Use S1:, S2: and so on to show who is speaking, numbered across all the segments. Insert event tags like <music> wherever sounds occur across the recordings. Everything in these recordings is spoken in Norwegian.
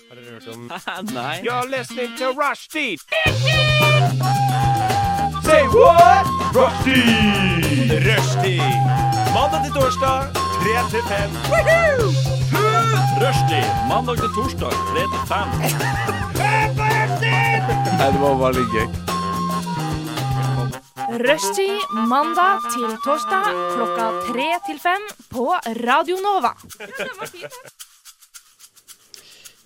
S1: hørt om
S2: Nei.
S1: You're listening to Rushdie! Say what? Rushdie! Rushdie! Mandag til torsdag, 3 til 5.
S2: Rushdie mandag til torsdag 3 til 5.
S3: Nei, det var bare litt gøy.
S4: Rushtid mandag til torsdag klokka tre til fem på Radio Nova.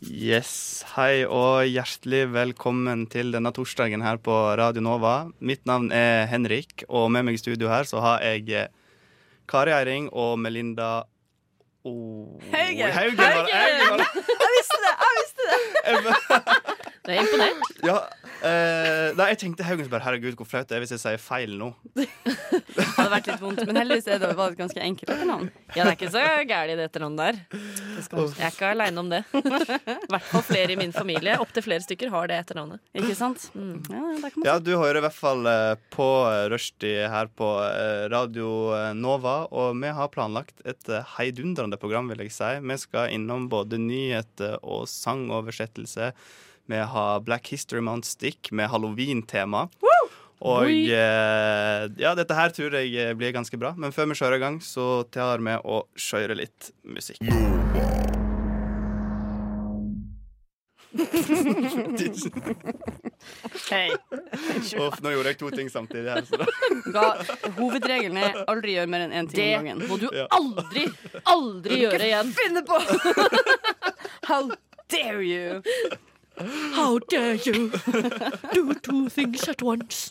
S5: Yes, hei og hjertelig velkommen til denne torsdagen her på Radio Nova. Mitt navn er Henrik, og med meg i studio her så har jeg eh, Kari Eiring og Melinda O...
S6: Haugen.
S5: Haugen! var det- Haugen var det.
S6: <laughs> Jeg visste det! jeg visste det
S7: <laughs> Du er imponert.
S5: Ja, eh, nei, jeg tenkte Haugen så bare herregud, hvor flaut det er hvis jeg sier feil nå.
S6: Det hadde vært litt vondt, men heldigvis er det bare et ganske enkelt etternavn.
S7: Ja, det er ikke så gærent i det etternavnet der. Jeg er ikke aleine om det. I hvert fall flere i min familie. Opptil flere stykker har det etternavnet.
S6: Ikke sant? Mm. Ja, der kan man
S5: Ja, du hører i hvert fall eh, på eh, Rushdie her på eh, Radio eh, Nova, og vi har planlagt et eh, heidundrende program, vil jeg si. Vi skal innom både nyheter og sangoversettelse. Vi har Black History Mount Stick med halloween-tema. Og
S7: Oi.
S5: eh, ja, dette her tror jeg eh, blir ganske bra. Men før vi kjører i gang, så tar vi og kjører litt musikk. <laughs>
S7: Hei.
S5: Uff, nå gjorde jeg to ting samtidig her. Så da.
S6: ga, hovedregelen er aldri gjør mer enn én ting
S7: Det
S6: om gangen.
S7: må du aldri, aldri gjøre igjen.
S6: Finne på! How dare you!
S7: How dare you do two things at once?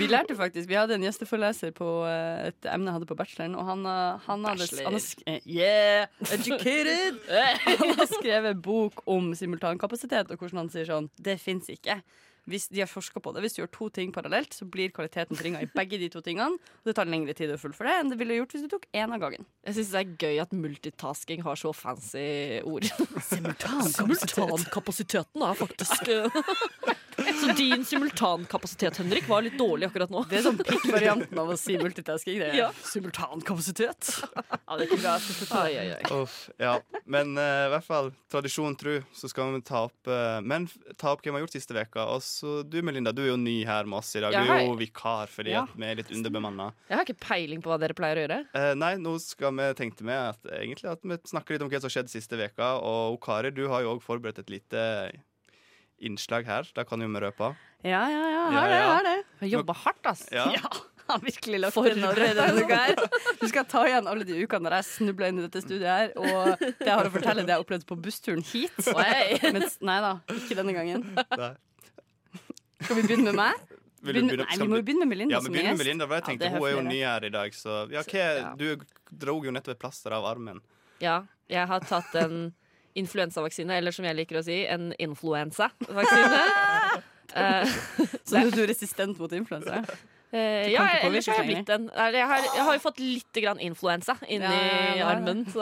S6: Vi lærte faktisk, vi hadde en gjesteforeleser på eh, et emne jeg hadde på bacheloren, og han, eh, han hadde
S7: Bachelor.
S6: han hadde sk- eh, <laughs> Yeah! Educated!
S7: <laughs>
S6: Han har skrevet bok om simultankapasitet og hvordan han sier sånn Det fins ikke. Hvis de har forsket på det Hvis du gjør to ting parallelt, så blir kvaliteten forringa i begge de to tingene. Og det tar lengre tid å fullføre det enn det ville gjort hvis du tok én av gangen.
S7: Jeg syns det er gøy at multitasking har så fancy ord.
S6: Simultankapasitet.
S7: Simultankapasiteten er faktisk <laughs> Så din simultankapasitet, Henrik, var litt dårlig akkurat nå.
S6: Det er sånn pikkvarianten av å si multitasking. Det er
S7: Ja.
S6: simultankapasitet.
S7: Ja, det er ikke bra. Ai, ai, ai.
S5: Uff, ja. Men eh, i hvert fall, tradisjon tru, så skal vi ta opp eh, Men f- ta opp hva vi har gjort siste veka Og så du, Melinda, du er jo ny her med oss i dag.
S7: Ja,
S5: du er
S7: hei.
S5: jo vikar fordi
S6: Ja.
S5: at vi er litt underbemanna.
S7: Jeg har ikke peiling på hva dere pleier å gjøre.
S5: Eh, nei, nå skal vi tenkte vi at egentlig at vi snakker litt om hva som har skjedd siste veka Og Kari, du har jo òg forberedt et lite innslag her. Det kan jo vi røpe.
S6: Ja, ja, ja.
S5: Ja,
S6: Har det,
S5: ja.
S6: har det.
S7: Jeg jobber hardt, ass.
S5: Ja.
S6: har virkelig lagt
S7: Forberedt
S6: inn allerede denne uka her. Du skal ta igjen alle de ukene der jeg snubla inn i dette studiet her, og det jeg har å fortelle, det jeg opplevde på bussturen hit.
S7: Oi.
S6: Mens, nei da, ikke denne gangen.
S5: Nei.
S6: Skal vi begynne med meg?
S5: Vil du
S6: Begynne-
S5: begynne-
S6: nei,
S5: skal
S6: vi må jo begynne med Linda
S5: ja, men
S6: som
S5: begynn med
S6: gjest.
S5: Melinda, for jeg
S6: Ja,
S5: tenkte
S6: det
S5: hun er jo
S6: høfligere.
S5: ny her i dag, så ja, hva,
S7: ja.
S5: Du drog jo nettopp et plaster av armen.
S7: Ja, jeg har tatt en influensavaksine, eller som jeg liker å si, en influensavaksine. Eh,
S6: Så du er resistent mot influensa?
S7: eh,
S6: Du kan
S7: ja,
S6: ikke
S7: ellers
S6: påvirke
S7: har jeg
S6: lenger.
S7: blitt en eller jeg, har, jeg har jo fått litt grann influensa inni
S6: Ja, ja, ja.
S7: armen.
S6: <laughs>
S7: Så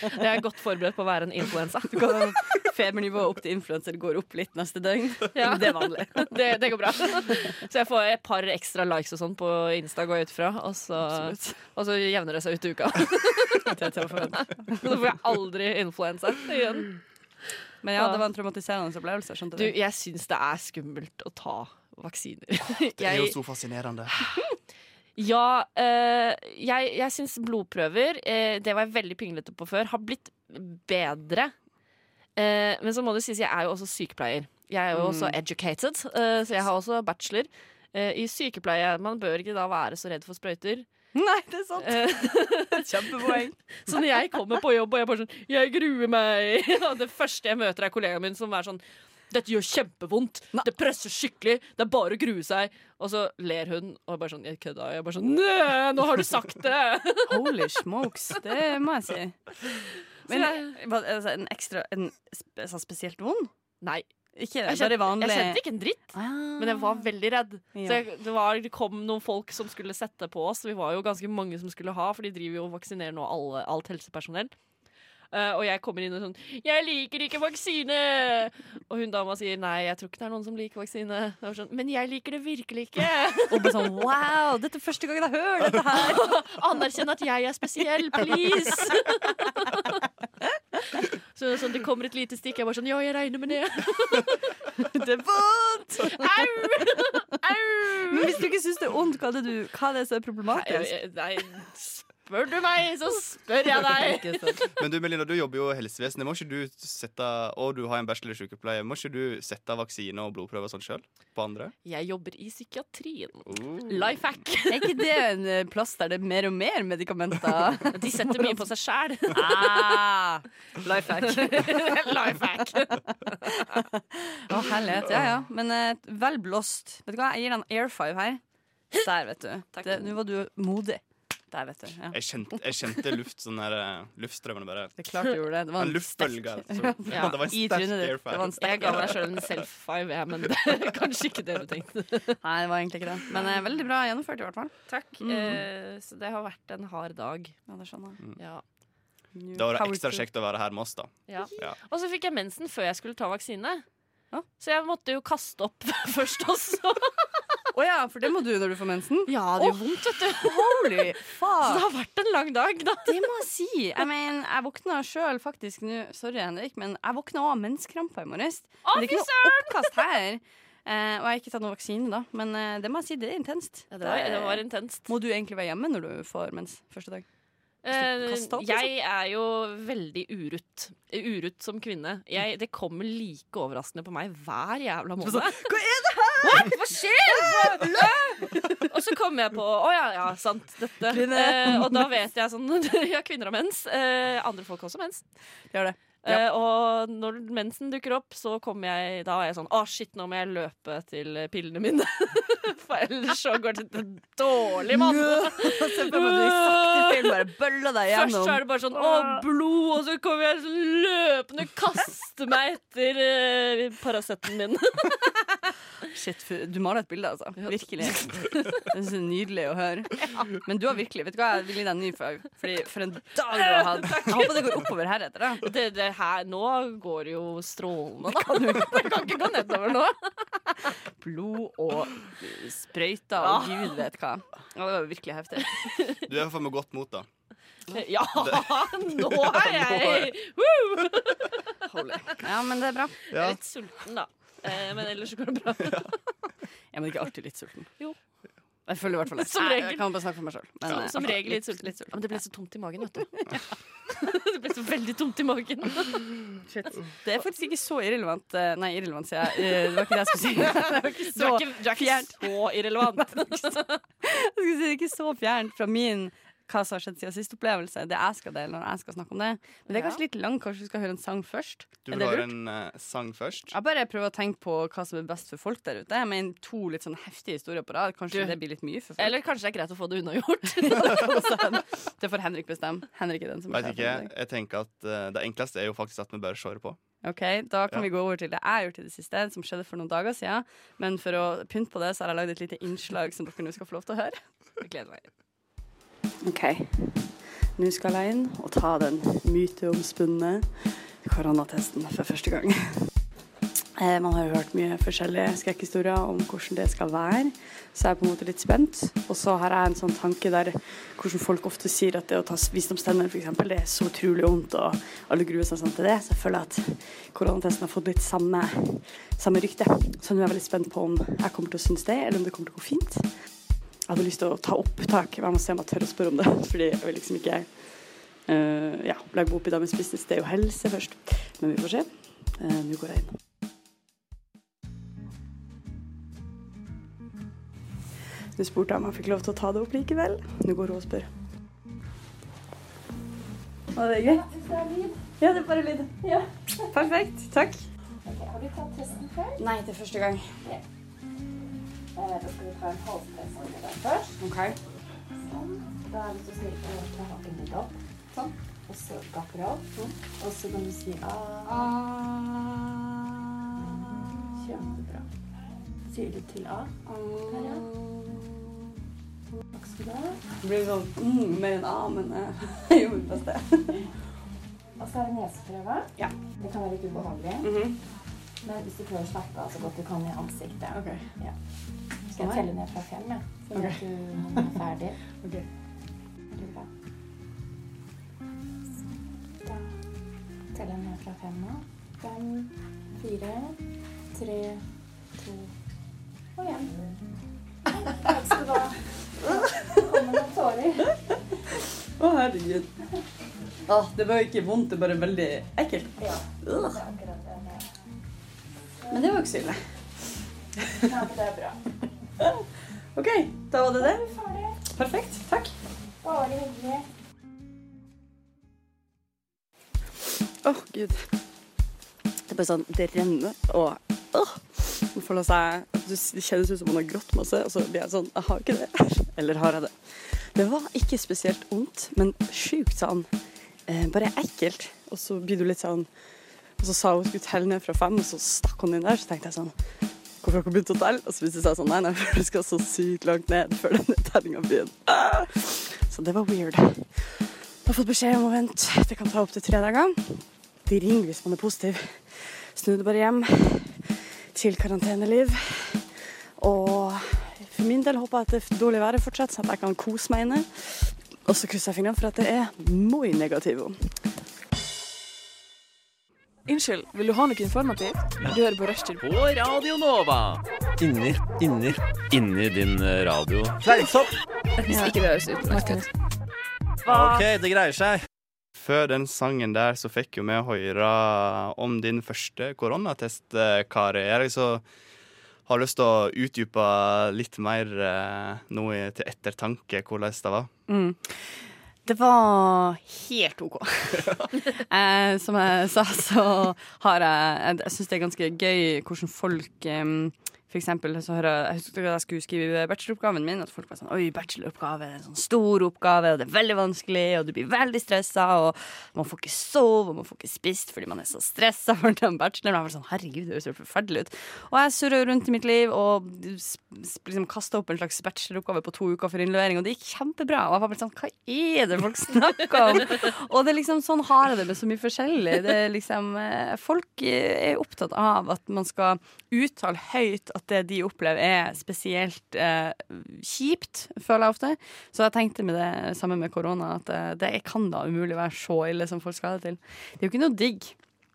S7: jeg er godt forberedt på å være en influensa.
S6: Du kan Febernivået opp til influenser går opp litt neste døgn.
S7: Ja.
S6: Det er vanlig.
S7: Det, det går bra. Så jeg får et par ekstra likes og sånn på Insta, går jeg ut fra. Og så,
S6: Absolutt.
S7: og så jevner det seg ut i uka. <laughs>
S6: Det er til å forvente.
S7: Så får jeg aldri influensa igjen.
S6: Men ja, det var en traumatiserende opplevelse. Skjønte
S7: Du,
S6: du?
S7: jeg syns det er skummelt å ta vaksiner.
S5: Det er jo
S7: Jeg-
S5: så fascinerende.
S7: Ja, eh, jeg, jeg syns blodprøver, eh, det var jeg veldig pinglete på før, har blitt bedre. Eh, men så må det sies, jeg er jo også sykepleier. Jeg er jo også educated, eh, så jeg har også bachelor. Eh, I sykepleie man bør ikke da være så redd for sprøyter.
S6: Nei, det er sant.
S7: Eh,
S6: <laughs> Kjempepoeng.
S7: så når jeg kommer på jobb og jeg bare sånn Jeg gruer meg! <laughs> Og det første jeg møter, er kollegaen min som er sånn Dette gjør kjempevondt! Det presser skikkelig! Det er bare å grue seg! Og så ler hun og bare sånn Jeg kødda. Og jeg bare sånn Nei, nå har du sagt det! <laughs>
S6: Holy smokes, det må jeg si. Men hva, altså, en ekstra en sp sånn spesielt vond?
S7: Nei.
S6: Ikke det,
S7: Jeg
S6: bare
S7: kjente,
S6: vanlig. Ah,
S7: jeg kjente ikke en dritt, men jeg var veldig redd.
S6: Ja.
S7: Så jeg, det, var, det kom noen folk som skulle sette på oss. Vi var jo ganske mange som skulle ha, for de driver jo og vaksinerer nå alle, alt helsepersonell. Eh, og jeg kommer inn og sånn 'Jeg liker ikke vaksine!' Og hun dama sier 'Nei, jeg tror ikke det er noen som liker vaksine'. Jeg var sånn, 'Men jeg liker det virkelig ikke'.
S6: Og bare sånn wow, dette er første gangen jeg hører dette
S7: <laughs>
S6: her!
S7: Anerkjenn at jeg er spesiell, please! <laughs> Så, sånn, det kommer et lite stikk. Jeg bare sånn Ja, jeg regner med det.
S6: Det er vondt!
S7: Au!
S6: Men hvis du ikke syns det er vondt, hva er det, du, hva er det som er
S7: Nei,
S6: problematisk?
S7: jeg- nei, spør du meg, så spør jeg deg.
S6: Ikke sant.
S5: Men du Melinda, du jobber jo i helsevesenet. Må ikke du sette, og du har en bachelor i sykepleie, må ikke du sette vaksine og blodprøver og sånn sjøl? På andre?
S7: <laughs> Jeg jobber i psykiatrien.
S5: Oh.
S7: Life hack.
S6: Er ikke det en eh, plass der det er mer og mer medikamenter?
S7: <laughs> De setter mye på seg <laughs> sjæl. <laughs>
S6: Ah, life hack.
S7: Life hack.
S6: Å, herlighet. Ja, ja. Men eh, vel blåst. Vet du hva, jeg gir den air five her. Der, vet du. Det- Nå var du modig. Der, vet du. Ja.
S5: Jeg kjente, jeg kjente luft, sånn her, eh, luftstrømmene bare
S6: Det er klart du gjorde det. Det var
S5: En
S6: en sterk
S5: luftbølge.
S6: <laughs>
S5: altså.
S7: Ja,
S5: det var en
S6: i
S5: sterk
S6: trynet ditt.
S5: airfare.
S6: Det var en sterk-
S7: Jeg ga meg sjøl en self-five, jeg, men det er kanskje ikke det du tenkte.
S6: Nei, det var egentlig ikke det. Men eh, veldig bra gjennomført, i hvert fall.
S7: Takk. Eh, så det har vært en hard dag.
S6: Ja, det skjønner jeg.
S7: Ja.
S6: New
S5: Da var det
S6: power
S5: ekstra
S6: to-
S5: kjekt å være her med oss, da.
S7: Ja.
S5: Ja.
S7: Og så fikk jeg mensen før jeg skulle ta vaksine.
S6: Ja.
S7: Så jeg måtte jo kaste opp <laughs> først også.
S6: Å ja, for det må du når du får mensen.
S7: Ja,
S6: det gjør
S7: vondt, vet du. <laughs>
S6: Holy
S7: Så det
S6: faen!
S7: har vært en lang dag, da.
S6: Det må jeg si. Jeg, mener, jeg våkna sjøl faktisk nå Sorry, Henrik, men jeg våkna også av menskramper i morges. Men det er ikke noe oppkast her. Eh, og jeg har ikke tatt noen vaksine, da. Men eh, det må jeg si, det er intenst.
S7: Ja, det, var, det var intenst.
S6: Må du egentlig være hjemme når du får mens første dag?
S7: Eh,
S6: Kastet opp,
S7: jeg er jo veldig urutt. Urutt som kvinne. Jeg, det kommer like overraskende på meg hver jævla måned. Hva er det her?! Hva skjer?! og så kommer jeg på Å ja, ja, sant. Dette. Eh, og da vet jeg sånn <laughs> Ja, kvinner har mens. Eh, andre folk har også mens.
S6: Gjør det.
S7: Eh, og når mensen dukker opp, så kommer jeg Da er jeg sånn Å, shit, nå må jeg løpe til eh, pillene mine. <laughs> For ellers så går det dårlig, mann.
S6: <laughs> Se på meg, du gikk sakte til, bare bølla deg
S7: Først så er
S6: gjennom.
S7: det bare sånn Å, blod! Og så kommer jeg sånn løpende kaste meg etter uh, Paracetten <laughs> min.
S6: Shit, for- du maler et bilde, altså.
S7: <laughs>
S6: Virkelig. Det er så nydelig å høre. Men du har virkelig Vet du hva, jeg vil gi deg en ny fag. Fordi for en dag du har
S7: <laughs>
S6: hatt. Jeg håper det går oppover heretter, da.
S7: Det, det her Nå går det jo strålende, da. Det kan ikke gå nedover nå.
S6: blod og sprøyter
S7: Ah.
S6: og gud vet hva. Ja, det var virkelig heftig.
S5: Du er for meg godt mot, da.
S7: <laughs> Ja, <laughs> nå er jeg
S6: Ja, men det er bra.
S5: Ja.
S7: litt sulten, da. Eh, men ellers så går det bra.
S6: Jeg er ikke alltid litt sulten.
S7: Jo.
S6: Jeg føler i hvert fall det.
S7: Som
S6: Nei,
S7: regel.
S6: Jeg kan bare snakke for meg eh,
S7: <laughs>
S6: sjøl.
S7: Som, som regel litt sulten. Ja, men det ble så tomt i magen, <laughs> vet du. <laughs> Det ble så veldig tomt i magen.
S6: Det er faktisk ikke så irrelevant. Eh, Nei, irrelevant, sier jeg. Eh, Det var ikke det jeg skulle si. Det var ikke
S7: Du er
S6: så,
S7: ikke, du er ikke så <laughs> irrelevant.
S6: jeg skulle si, det er ikke så fjernt fra min hva som har skjedd siden sist opplevelse. Det jeg skal dele når jeg skal snakke om det. Men det er kanskje litt langt. Kanskje vi skal høre en sang først?
S5: Du
S6: Er
S5: vil
S6: det
S5: ha
S6: lurt?
S5: en eh, sang først?
S6: Jeg bare prøver å tenke på hva som er best for folk der ute. Jeg mener to litt sånn heftige historier på rad. Kanskje
S7: Du.
S6: det blir litt mye for folk.
S7: Eller kanskje det er greit å få det unnagjort.
S6: Det får Henrik bestemme. Henrik er den som
S5: Veit
S6: bestemmer
S5: ikke.
S6: i dag.
S5: Jeg tenker at eh, det enkleste er jo faktisk at vi bare kjører på.
S6: Ok, Da kan
S5: Ja.
S6: vi gå over til det jeg har gjort i det siste, som skjedde for noen dager siden. Men for å pynte på det, så har jeg lagd et lite innslag som dere nå skal få lov til å høre. Jeg gleder meg. OK. Nå skal jeg inn og ta den myteomspunne koronatesten for første gang. Eh, Man har jo hørt mye forskjellige skrekkhistorier om hvordan det skal være, så jeg er på en måte litt spent. Og så har jeg en sånn tanke der hvordan folk ofte sier at det å ta visdomstenner f.eks., det er så utrolig vondt, og alle gruer seg sånn til det. Så jeg føler at koronatesten har fått litt samme, samme rykte. Så nå er jeg veldig spent på om jeg kommer til å synes det, eller om det kommer til å gå fint. Jeg hadde lyst til å ta opptak, men jeg må se om jeg tør å spørre om det, <laughs> fordi jeg vil liksom ikke eh, ja, lage meg opp i dagens business. Det er jo helse først. Men vi får se. Eh, Nå går jeg inn. Du spurte om jeg fikk lov til å ta det opp likevel. Nå går hun og spør. Var det greit? Ja, det er bare lyd. Perfekt. Takk.
S3: Har du tatt testen før?
S6: Nei, det er første gang.
S3: Eh, Da skal vi ta en halstest med deg først.
S6: Ok.
S3: Sånn. Da er vi så snill å ta haken litt opp. Sånn. Og så gapper opp. Sånn. Og så kan du si ah. Kjempebra. Sier du til A? Her, ja. Takk skal du ha.
S6: Det blir sånn mm, mer enn A, men eh, <laughs> jeg gjorde mitt beste.
S3: Og så er det neseprøve.
S6: Ja.
S3: Det kan være litt ubehagelig.
S4: Mhm.
S3: Men hvis du prøver å slappe av så godt du kan i ansiktet
S6: Ok.
S3: ja.
S4: Sånn
S3: Skal jeg telle ned fra fem, jeg? Sånn at du er
S4: <laughs>
S3: ferdig.
S6: Ok.
S3: Er det bra? Da teller jeg ned fra fem nå. Fem, fire, tre, to og én. Takk skal du ha. Nå kommer noen tårer.
S6: Å, herregud. Åh, det var jo ikke vondt, det var bare veldig ekkelt.
S3: Ja, det
S6: Øh.
S3: er akkurat det. det er.
S6: Men det var jo ikke så ille.
S3: Ja, men det er bra.
S6: <laughs> OK, da var det det.
S3: Er vi ferdige?
S6: Perfekt. Takk.
S3: Bare hyggelig.
S6: Åh, gud. Det er bare sånn, det renner, og åh, man føler seg, det kjennes ut som man har grått masse, og så blir jeg sånn, jeg har ikke det, eller har jeg det? Det var ikke spesielt ondt, men sykt sånn, eh, bare ekkelt, og så blir du litt sånn, og så sa hun skulle telle ned fra fem, og så stakk hun inn der, så tenkte jeg sånn, hvorfor har hun begynt å telle? Og så visste jeg sånn, nei, <laughs> nei, for du skal så sykt langt ned før denne tellingen begynner. Ah! Så det var weird. Jeg har fått beskjed om å vente, det kan ta opp til tre dager. De ringer hvis man er positiv. Snu det bare hjem til karanteneliv. Og for min del håper jeg at det dårlige været fortsetter, så at jeg kan kose meg inne. Og så krysser jeg fingrene for at det er moi negativo.
S8: Unnskyld, vil du ha noe informativt? Du hører på Rushtid.
S2: På Radio Nova.
S9: Inni, inni.
S2: Inni din eh, radio.
S9: Fleinsopp!
S8: Hvis ikke det høres ut. Martin.
S9: OK, det greier seg.
S5: Før den sangen der så fikk jo vi høre om din første koronatest, eh, Kari. Jeg liksom har lyst til å utdype litt mer eh, nå i- til ettertanke hvordan det var.
S6: Det var
S7: <laughs>
S6: helt OK. eh, som jeg sa, så har jeg Jeg syns det er ganske gøy hvordan folk eh, for eksempel, så hører jeg, jeg husker da jeg skulle skrive bacheloroppgaven min, at folk var sånn Oi, bacheloroppgave er en sånn stor oppgave, og det er veldig vanskelig, og du blir veldig stressa, og man får ikke sove, og man får ikke spist fordi man er så stressa for den bacheloren. Og jeg var sånn, herregud, det høres jo forferdelig ut. Og jeg surra rundt i mitt liv og sp- sp- liksom kasta opp en slags bacheloroppgave på to uker for innlevering, og det gikk kjempebra. Og jeg var bare sånn, hva er det folk snakker om? og det er liksom sånn har jeg det med så mye forskjellig. Det er liksom, eh, folk eh, er opptatt av at man skal uttale høyt at det de opplever er spesielt eh, kjipt, føler jeg ofte. Så jeg tenkte med det samme med korona, at eh, det kan da umulig være så ille som folk skal ha det til. Det er jo ikke noe digg.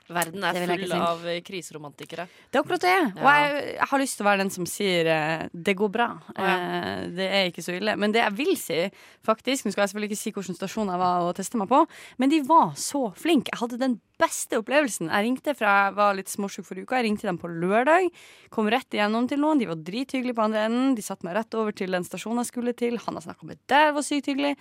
S7: Verden er
S6: Det vil jeg ikke
S7: full
S6: si.
S7: av eh, kriseromantikere.
S6: Det er akkurat det. Og
S7: Ja.
S6: jeg, jeg har lyst til å være den som sier eh, 'det går bra'. Eh, det er ikke så ille. Men det jeg vil si, faktisk Nå skal jeg selvfølgelig ikke si hvilken stasjon jeg var og testa meg på, men de var så flinke. Jeg hadde den beste opplevelsen. Jeg ringte fra jeg var litt småsjuk forrige uka. Jeg ringte dem på lørdag. Kom rett igjennom til noen. De var drithyggelige på andre enden. De satte meg rett over til den stasjonen jeg skulle til. Han jeg snakka med der, var sykt hyggelig.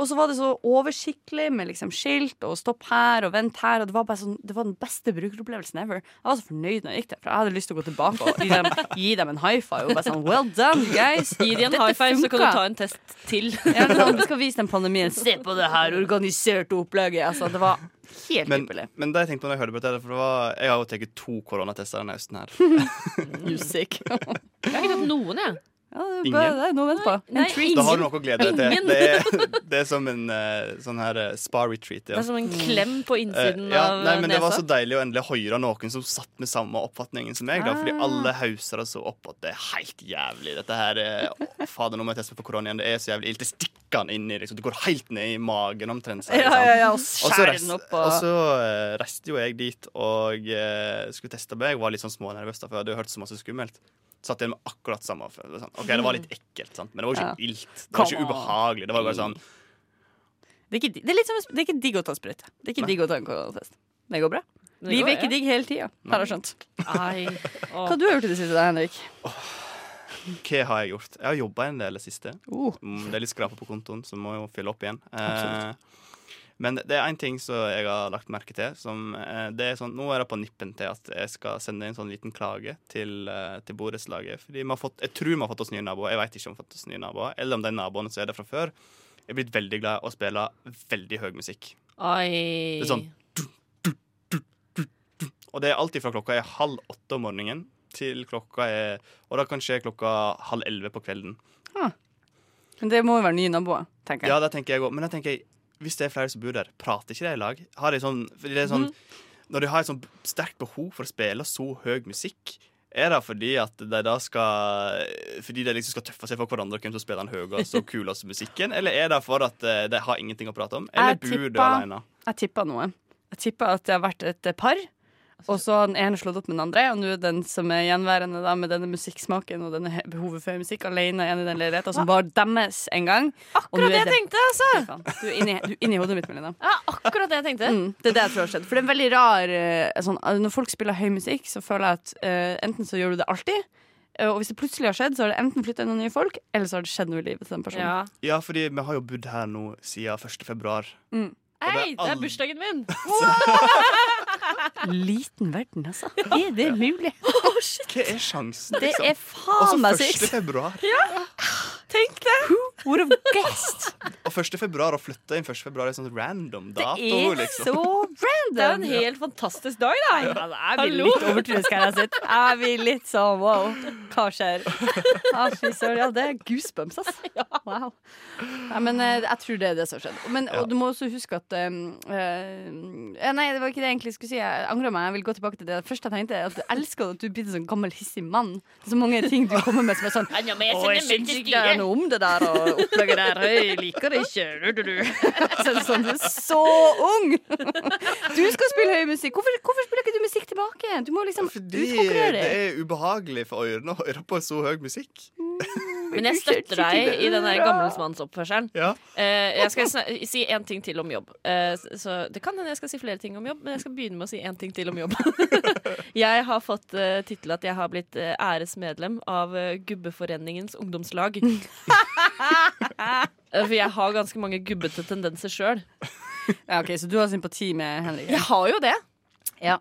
S6: Og så var det så oversiktlig med liksom skilt og stopp her og vent her. Og det var, bare sånn, det var den beste brukeropplevelsen ever. Jeg var så fornøyd når jeg gikk derfra. Jeg hadde lyst til å gå tilbake og gi dem, gi dem en high five. Og bare sånn, well done, guys.
S7: Gi de en
S6: Dette
S7: high five, så kan du
S6: funka.
S7: ta en test til.
S6: Ja, det er sånn, vi skal vise dem pandemien. Se på det her organiserte opplegget. Altså, det var helt
S5: Men,
S6: ypperlig.
S5: men det jeg tenkte på når jeg hørte på det, for det var, jeg har jo tatt to koronatester denne høsten
S7: <laughs>
S5: her.
S6: Music.
S7: Jeg har ikke tatt noen, jeg.
S6: Ja, det er
S5: Ingen?
S6: bare det er noe å vente på.
S7: Nei,
S6: En treat.
S5: Da har du noe å glede deg til.
S7: Ingen.
S5: Det er, det er som en eh, sånn her eh, spa retreat.
S7: Det
S5: Ja.
S7: er som en klem på
S5: Eh,
S7: innsiden
S5: ja,
S7: av
S5: nei, men det var
S7: nesa.
S5: så deilig å endelig høre noen som satt med samme oppfatningen som meg. Da, fordi
S6: Ah.
S5: alle hauser så opp at det er helt jævlig. Dette her er, å, Fader, nå må jeg teste meg på korona igjen. Det er så jævlig ilt. Det stikker han inn i liksom. Det går helt ned i magen omtrent. sier de,
S6: Ja,
S5: sant?
S6: ja, ja, og
S5: sånn. Og så
S6: skjære
S5: reist-
S6: den opp
S5: og
S6: og
S5: så eh, reiste jo jeg dit og eh, skulle teste meg. Jeg var litt sånn smånervøs, da, for jeg hadde jo hørt så masse skummelt. Satt igjen med akkurat samme følelse. Sånn. Ok, Det var litt ekkelt, sant? men det var jo ikke ilt. Det var
S6: Mm. Come
S5: ikke
S6: on.
S5: ubehagelig. Det var bare sånn
S6: Det er ikke, det er litt som, en sp- det er ikke digg å ta sprøyte. Det er
S5: Nei.
S6: ikke digg å ta en koronatest. Det går bra.
S7: Det går,
S6: Livet er
S7: ja.
S6: ikke digg hele tida, har jeg skjønt.
S7: Ai. Å.
S6: Hva du har gjort i det siste, da, Henrik?
S5: Hva har jeg gjort? Jeg har jobba en del i det siste.
S6: Oh.
S5: Mm, det er litt skraper på kontoen, så må jeg jo fylle opp igjen. Eh, men det er én ting som jeg har lagt merke til. Som, eh, det er sånn, nå er det på nippen til at jeg skal sende en sånn liten klage til, eh, til borettslaget. Fordi vi har fått, jeg tror vi har fått oss nye naboer. Jeg vet ikke om vi har fått oss nye naboer, eller om de naboene som er der fra før. Jeg er blitt veldig glad i å spille veldig høy musikk.
S7: Ai.
S5: Det er sånn Og det er alltid fra klokka er halv åtte om morgenen til klokka er Og det kan skje klokka halv elleve på kvelden.
S6: Men det må jo være nye naboer, tenker jeg.
S5: Ja, det tenker jeg også. Men da tenker jeg, hvis det er flere som bor der, prater ikke de i lag? Har de sånn, fordi det er sånn Når de har et sånn sterkt behov for å spille så høy musikk, er det fordi at de da skal Fordi de liksom skal tøffe seg for hverandre hvem som spiller den høyeste og kuleste musikken? Eller er det for at eh, de har ingenting å prate om? Eller
S6: Jeg
S5: bor de
S6: tippa-
S5: alene?
S6: Jeg tippa noe. Jeg tipper at det har vært et eh, par. Og så har den ene slått opp med den andre, og nå er den som er gjenværende da, med denne musikksmaken og denne he- behovet for musikk, alene igjen i den leiligheten som var deres en gang.
S7: Akkurat det jeg
S6: det-
S7: tenkte, altså!
S6: Fy faen, Du er inni, du er inni hodet mitt, Melina.
S7: Ja, akkurat det jeg tenkte.
S6: Mm, det er det jeg tror har skjedd. For det er en veldig rar eh, sånn, eh, Når folk spiller høy musikk, så føler jeg at eh, enten så gjør du det alltid, eh, og hvis det plutselig har skjedd, så har det enten flytta inn noen nye folk, eller så har det skjedd noe i livet til den personen.
S7: Ja.
S5: Ja, fordi vi har jo bodd her nå siden 1. februar.
S7: Hei, det
S5: all-
S7: er bursdagen min!
S6: Liten verden, altså. Er det mulig?
S5: Hva er sjansen?
S6: Det
S5: liksom?
S6: er
S5: Også
S6: faen meg
S5: 1.
S6: sykt!
S5: februar.
S6: Tenk det! Who would have guessed?
S5: Og 1. februar å flytte inn 1. februar er sånn random dato,
S6: er
S5: liksom.
S6: så random!
S7: Det er jo en helt fantastisk dag, da.
S6: Altså, jeg blir litt overtroisk her jeg sitter. Jeg blir litt sånn wow, hva skjer? Ja, fy søren. Ja, det er goosebumps, <laughs> ass. Wow. Nei, men eh, jeg tror det er det som har skjedd. Men, og du må også huske at eh, eh, Nei, det var ikke det jeg egentlig skulle si. Jeg angrer meg. Jeg vil gå tilbake til det første jeg tenkte. At jeg elsker at du blir en sånn gammel, hissig mann. Det er så mange ting du kommer med som er sånn
S7: Ja, nå må jeg
S6: Å,
S7: sende
S6: jeg
S7: melding
S6: syns
S7: til
S6: ikke det er
S7: styret.
S6: noe om det der og <laughs> opplegget der. Jeg liker det ikke. Du, du, du. Så er det sånn, du er så ung! <laughs> Du skal spille høy musikk. Hvorfor, hvorfor spiller ikke du musikk tilbake? Du må liksom
S5: Fordi
S6: utkonkurrere
S5: det
S6: deg.
S5: er ubehagelig for ørene å høre på så høy musikk.
S7: <laughs> Men jeg støtter deg i den der gammelsmannsoppførselen.
S5: Ja.
S7: Eh, jeg skal sna- si én ting til om jobb. Eh, s- så det kan hende jeg skal si flere ting om jobb, men jeg skal begynne med å si én ting til om jobb. <laughs> jeg har fått uh, tittel at jeg har blitt eh, æresmedlem av eh, Gubbeforeningens
S6: <laughs>
S7: ungdomslag. Eh, For jeg har ganske mange gubbete tendenser sjøl.
S6: Ja, ok, Så du har sympati med Henrik?
S7: Jeg har jo det.
S6: Ja.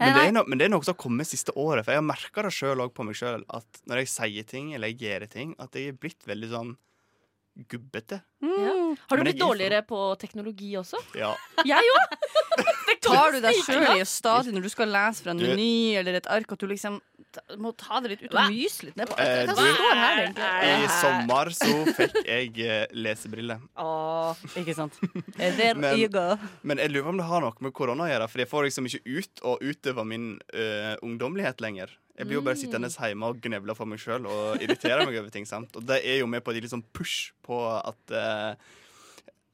S5: Men det, er no, men det er noe som har kommet siste året, for jeg har merka det sjøl òg på meg sjøl, at når jeg sier ting, eller jeg gjør ting, at jeg er blitt veldig sånn gubbete.
S7: Har du
S5: Men
S7: blitt
S5: jeg gir faen.
S7: dårligere på teknologi også?
S5: Ja.
S7: Jeg òg!
S6: Tar du deg sjøl i å stadig når du skal lese fra en
S5: Du-
S6: meny eller et ark, at du liksom ta, må ta det litt ut og myse litt ned på
S5: Eh,
S6: Hva
S5: du-
S6: står her, egentlig?
S5: I sommer så fikk jeg eh, lesebriller.
S6: Åh, ikke sant. There
S5: Men-
S6: you go.
S5: Men jeg lurer på om det har noe med korona å gjøre, for jeg får liksom ikke ut og utøve min eh, ungdommelighet lenger. Jeg blir jo bare sittende hjemme og gnevle for meg sjøl og irritere meg <laughs> over ting. sant? Og det er jo med på et litt sånn push på at eh,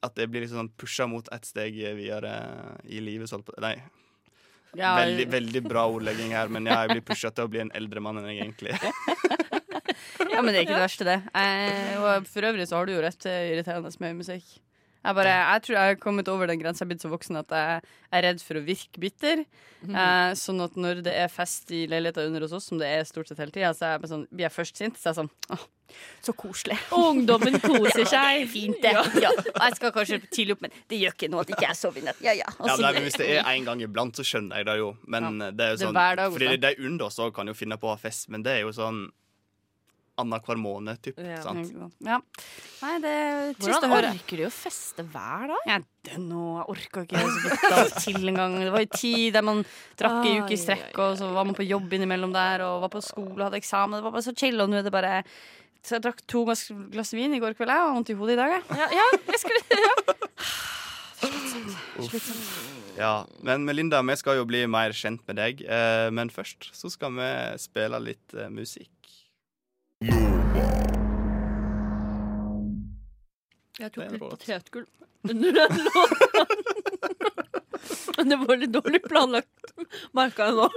S5: At jeg blir liksom sånn pusha mot ett steg videre i livet. Så holdt på. Nei,
S6: Ja,
S5: veldig, veldig bra ordlegging her, men ja, jeg blir pusha til å bli en eldre mann enn jeg egentlig er.
S6: Ja, men det er ikke det verste, det. Eh, og for øvrig så har du jo rett til irriterende med musikk. Jeg, bare, jeg tror jeg har kommet over den grensa, jeg er blitt så voksen at jeg er redd for å virke bitter. Eh, sånn at når det er fest i leiligheta under hos oss, som det er stort sett hele tida, så er jeg bare sånn, blir jeg først sint. Så er jeg sånn Åh, så koselig.
S7: Ungdommen <laughs> koser seg.
S6: Fint, det. <laughs> Ja. Og jeg skal kanskje tidlig opp, men det gjør ikke noe at ikke jeg sover i natt. Ja, ja. Og
S5: Ja,
S6: så-
S5: nei, men Hvis det er en gang iblant, så skjønner jeg det jo. Men det er jo
S6: Det er
S5: sånn
S6: hver dag,
S5: Fordi
S6: Otta.
S5: de under oss også kan jo finne på å ha fest, men det er jo sånn annenhver måned, typ.
S7: Ja.
S5: Sant?
S6: ja. Nei, det er trist å
S7: Hvordan
S6: høre.
S7: orker de å feste hver dag?
S6: Jeg dønner, jeg orka ikke så vidt av til en gang. Det var en tid der man drakk en uke i strekk, og så var man på jobb innimellom der, og var på skole og hadde eksamen. Det var bare så chill, og nå er det bare Så jeg drakk to glass, glass vin i går kveld, jeg, og har vondt i hodet i dag, jeg.
S7: Ja, ja, jeg skulle
S5: Ja, men Melinda, vi skal jo bli mer kjent med deg. Eh, men først så skal vi spille litt eh, musikk. Det
S7: Jeg
S5: er
S7: tok litt
S5: rått.
S7: potetgull under den låta. Det var litt dårlig planlagt, merka jeg nå.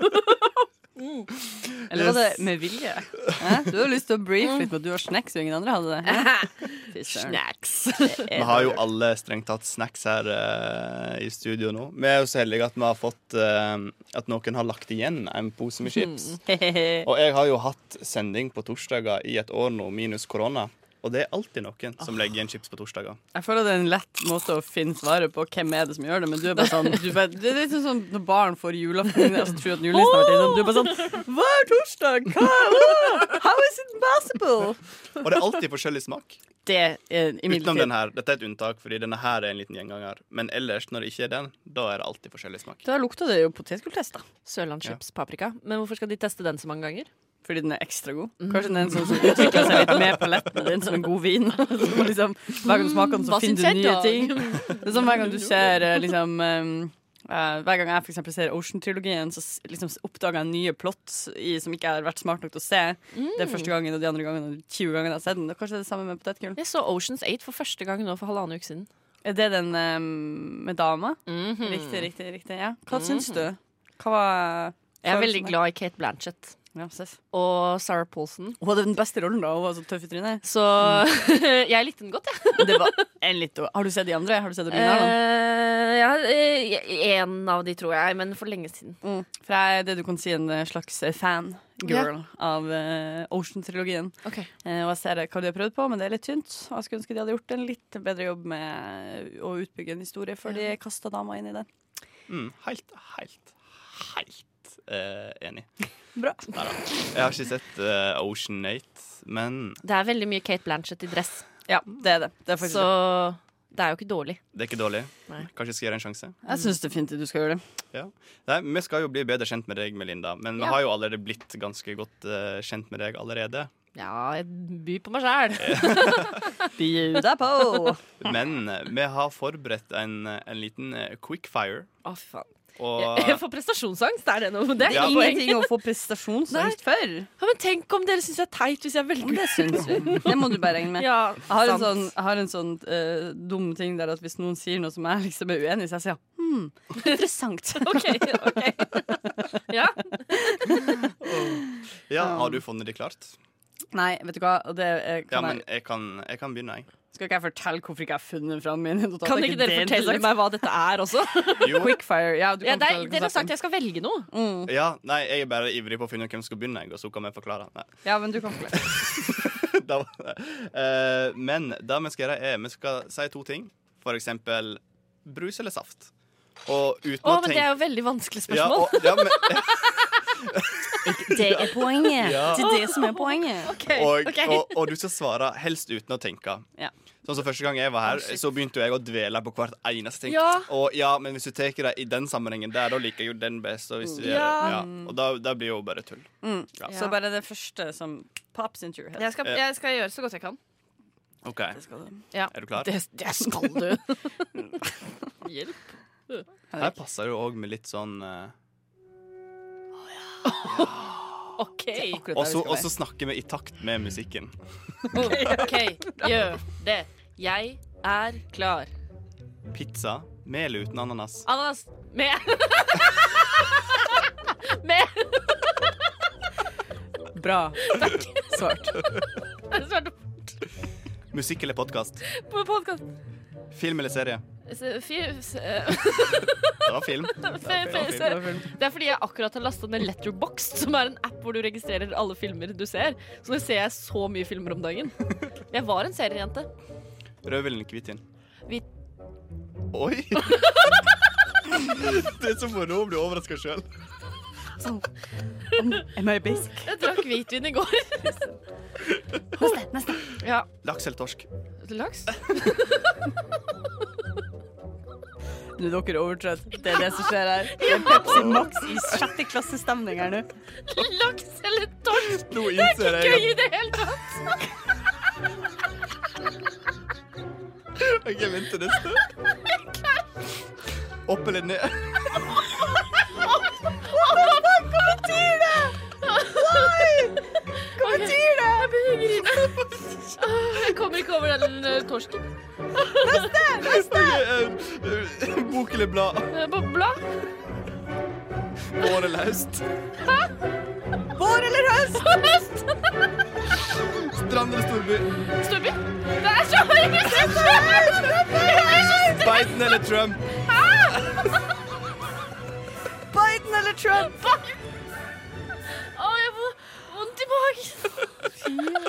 S6: Eller var det med vilje? Hæ? Du har lyst til å brife litt på at du har snacks, og ingen andre hadde det. Hæ? Fy søren.
S7: <laughs>
S5: Vi har jo alle strengt tatt snacks her eh, i studio nå. Vi er jo så heldige at vi har fått eh, At noen har lagt igjen en pose med
S7: Hmm.
S5: chips. Og jeg har jo hatt sending på torsdager i et år nå, minus korona. Og det er alltid noen
S6: Ah.
S5: som legger igjen chips på torsdager.
S6: Jeg føler det er en lett måte å finne svaret på hvem er det som gjør det, men du er bare sånn du bare, Det er litt sånn som når barn får julaften og så tror at julenissen har vært innom. Du er bare sånn Hva er torsdag? Hva? Hva? How is it possible?
S5: Og det er alltid forskjellig smak.
S6: Det er
S5: Utenom
S6: <laughs> imidlertid
S5: den her. Dette er et unntak, fordi denne her er en liten gjenganger. Men ellers, når det ikke er den, da er det alltid forskjellig smak.
S6: Da lukta det jo potetgulltest, da.
S7: Sørlandschips paprika. Men hvorfor skal de teste den så mange ganger?
S6: Fordi den er ekstra god.
S7: Mm.
S6: Kanskje den er en sånn som utvikler seg litt med paletten din som en god vin. <laughs> Som liksom, hver gang du smaker den, så
S7: Hva syns
S6: finner du
S7: jeg
S6: nye
S7: da?
S6: ting.
S7: <laughs>
S6: Det er sånn hver gang du ser eh, liksom ehm, eh, hver gang jeg for eksempel ser Ocean-trilogien, så s- liksom s- oppdager jeg nye plots i, som ikke jeg har vært smart nok til å se.
S7: Mm.
S6: Det er første gangen og de andre gangen og 20 ganger jeg har sett den. Og kanskje det er det samme med potetgull.
S7: Jeg så Oceans 8 for første gang nå for halvannen uke siden.
S6: Er det den eh, med dama?
S7: Mhm. Mm.
S6: Riktig, riktig. riktig, ja Hva syns du? Hva var
S7: Jeg er veldig glad i Kate Blanchett
S6: Ja, Seff.
S7: og Sarah Paulson.
S6: Hun hadde den beste rollen, da. Hun var så tøff i <laughs> trynet.
S7: Så <laughs> jeg likte den godt, jeg.
S6: Det var en litt Har du sett de andre? Har du sett originalen?
S7: Eh, ja, eh, en av de, tror jeg, men for lenge siden.
S6: Mm. For jeg er det du kan si en eh, slags eh, fangirl av eh, Ocean-trilogien. Eh, og jeg ser hva de har prøvd på, men det er litt tynt. Og jeg skulle ønske de hadde gjort en litt bedre jobb med eh, å utbygge en historie før de kasta dama inn i den.
S5: Mm, helt, helt, helt eh, enig.
S6: <laughs> Bra.
S5: Neida. Jeg har ikke sett eh, Ocean 8, men
S7: Det er veldig mye Kate Blanchett i dress,
S6: Ja, det er det. det, er faktisk
S7: så
S6: det.
S7: det er jo ikke dårlig.
S5: det er ikke dårlig.
S7: Nei.
S5: Kanskje jeg skal gjøre en sjanse.
S6: Jeg syns definitivt du skal gjøre det.
S5: Ja. Nei, Vi skal jo bli bedre kjent med deg, Melinda, men vi har jo allerede blitt ganske godt eh, kjent med deg allerede.
S7: Ja, jeg byr på meg sjæl.
S6: Bjud deg på!
S5: <laughs> Men eh, vi har forberedt en, eh, en liten eh, quickfire.
S7: Å, fy faen.
S5: <laughs> Og
S7: Jeg får prestasjonsangst, er det noe? Det er
S5: Ja.
S7: ingenting.
S6: Ingenting å få prestasjonsangst for.
S7: Ja, men tenk om dere syns jeg er teit hvis jeg velger
S6: Det syns vi. Det må du bare regne med.
S7: Ja,
S6: Jeg har en
S7: sant.
S6: sånn, jeg har en sånn eh, dum ting der at hvis noen sier noe som jeg liksom er uenig i, så jeg sier hm, interessant.
S7: OK. ok Ja,
S5: ja, har du funnet det klart?
S6: Nei, vet du hva, og det eh,
S5: Ja,
S6: kan
S5: men
S6: jeg,
S5: jeg kan, jeg kan begynne,
S7: <laughs>
S5: jeg.
S6: skal ikke jeg fortelle hvorfor ikke jeg har funnet fram mine notater?
S7: Kan
S6: Er
S7: ikke dere
S6: det
S7: fortelle
S6: interessant?
S7: meg hva dette er også?
S5: Jo,
S6: Quickfire. Ja, du
S7: Ja,
S6: kan
S7: det er,
S6: fortelle
S7: dere har sagt
S6: konseptet.
S7: jeg skal velge noe.
S5: ja, nei, jeg er bare ivrig på å finne ut hvem som skal begynne, jeg, og så kan vi forklare. Nei. <laughs>
S6: Ja, men du kan forklare.
S5: da, Eh, men det vi skal gjøre, er vi skal si to ting. For eksempel brus eller saft. Og uten å
S7: Å, men
S5: tenke
S7: det er jo veldig vanskelig
S5: ja,
S7: spørsmål.
S5: og, ja, men,
S6: Det er poenget.
S5: Ja.
S6: Det er det som er poenget.
S7: <laughs>
S5: og, og, og du skal svare helst uten å tenke.
S6: Ja.
S5: Sånn som Første gang jeg var her, så begynte jeg å dvele på hvert eneste ting.
S7: Ja.
S5: Og ja, Men hvis du tar det i den sammenhengen der, da liker jeg jo den best. Og, hvis du gjør det, ja. og da, da blir det jo bare tull. Ja.
S6: Så bare det første som pops into your head.
S7: Jeg skal, jeg skal gjøre så godt jeg kan.
S5: Ok, Er du klar?
S7: Det, det skal du. Hjelp.
S5: Her passer det òg med litt sånn eh,
S7: OK.
S5: Og så og så snakker vi i takt med musikken.
S7: OK, gjør det. Jeg er klar.
S5: Pizza med eller uten ananas?
S7: Ananas med. med.
S6: Bra. Svart.
S7: Jeg svarte
S5: Musikk eller podkast?
S7: på podkast.
S5: Film eller serie?
S7: Se- fi- se-
S5: Det var film. Det var
S7: fe- fe-
S5: film.
S7: se- Det er fordi jeg akkurat har lasta ned Letterboxd, som er en app hvor du registrerer alle filmer du ser. Så nå ser jeg så mye filmer om dagen. Jeg var en seriejente.
S5: Rød eller hvitvin?
S7: Hvit.
S5: Oi! Det er så moro å bli overraska sjøl.
S6: Am I basic?
S7: Jeg drakk hvitvin i går.
S6: Neste. neste.
S7: Ja.
S5: Laks eller torsk?
S7: Laks?
S6: Nå er dere overtrøtt. Det er det som skjer <laughs> her. Det er Pepsi Max i sjette klassestemning her nå.
S7: Laks eller torsk?
S5: Nå innser
S7: Gøy
S5: jeg
S7: i det hele tatt!
S5: at jeg venter neste. Opp eller ned?
S7: Hva betyr det? Jeg blir grine. Ah, Jeg kommer ikke over den eh, torsken.
S5: Ok, eh, eh, Bok eller blad?
S7: Eh, På blad.
S5: Vår eller høst?
S6: Vår eller høst?
S7: Høst.
S5: Strand eller storby?
S7: Storby. Det er så høy musikk!
S5: Biden eller Trump?
S6: Biden eller Trump?
S7: Å, jeg får vondt i magen.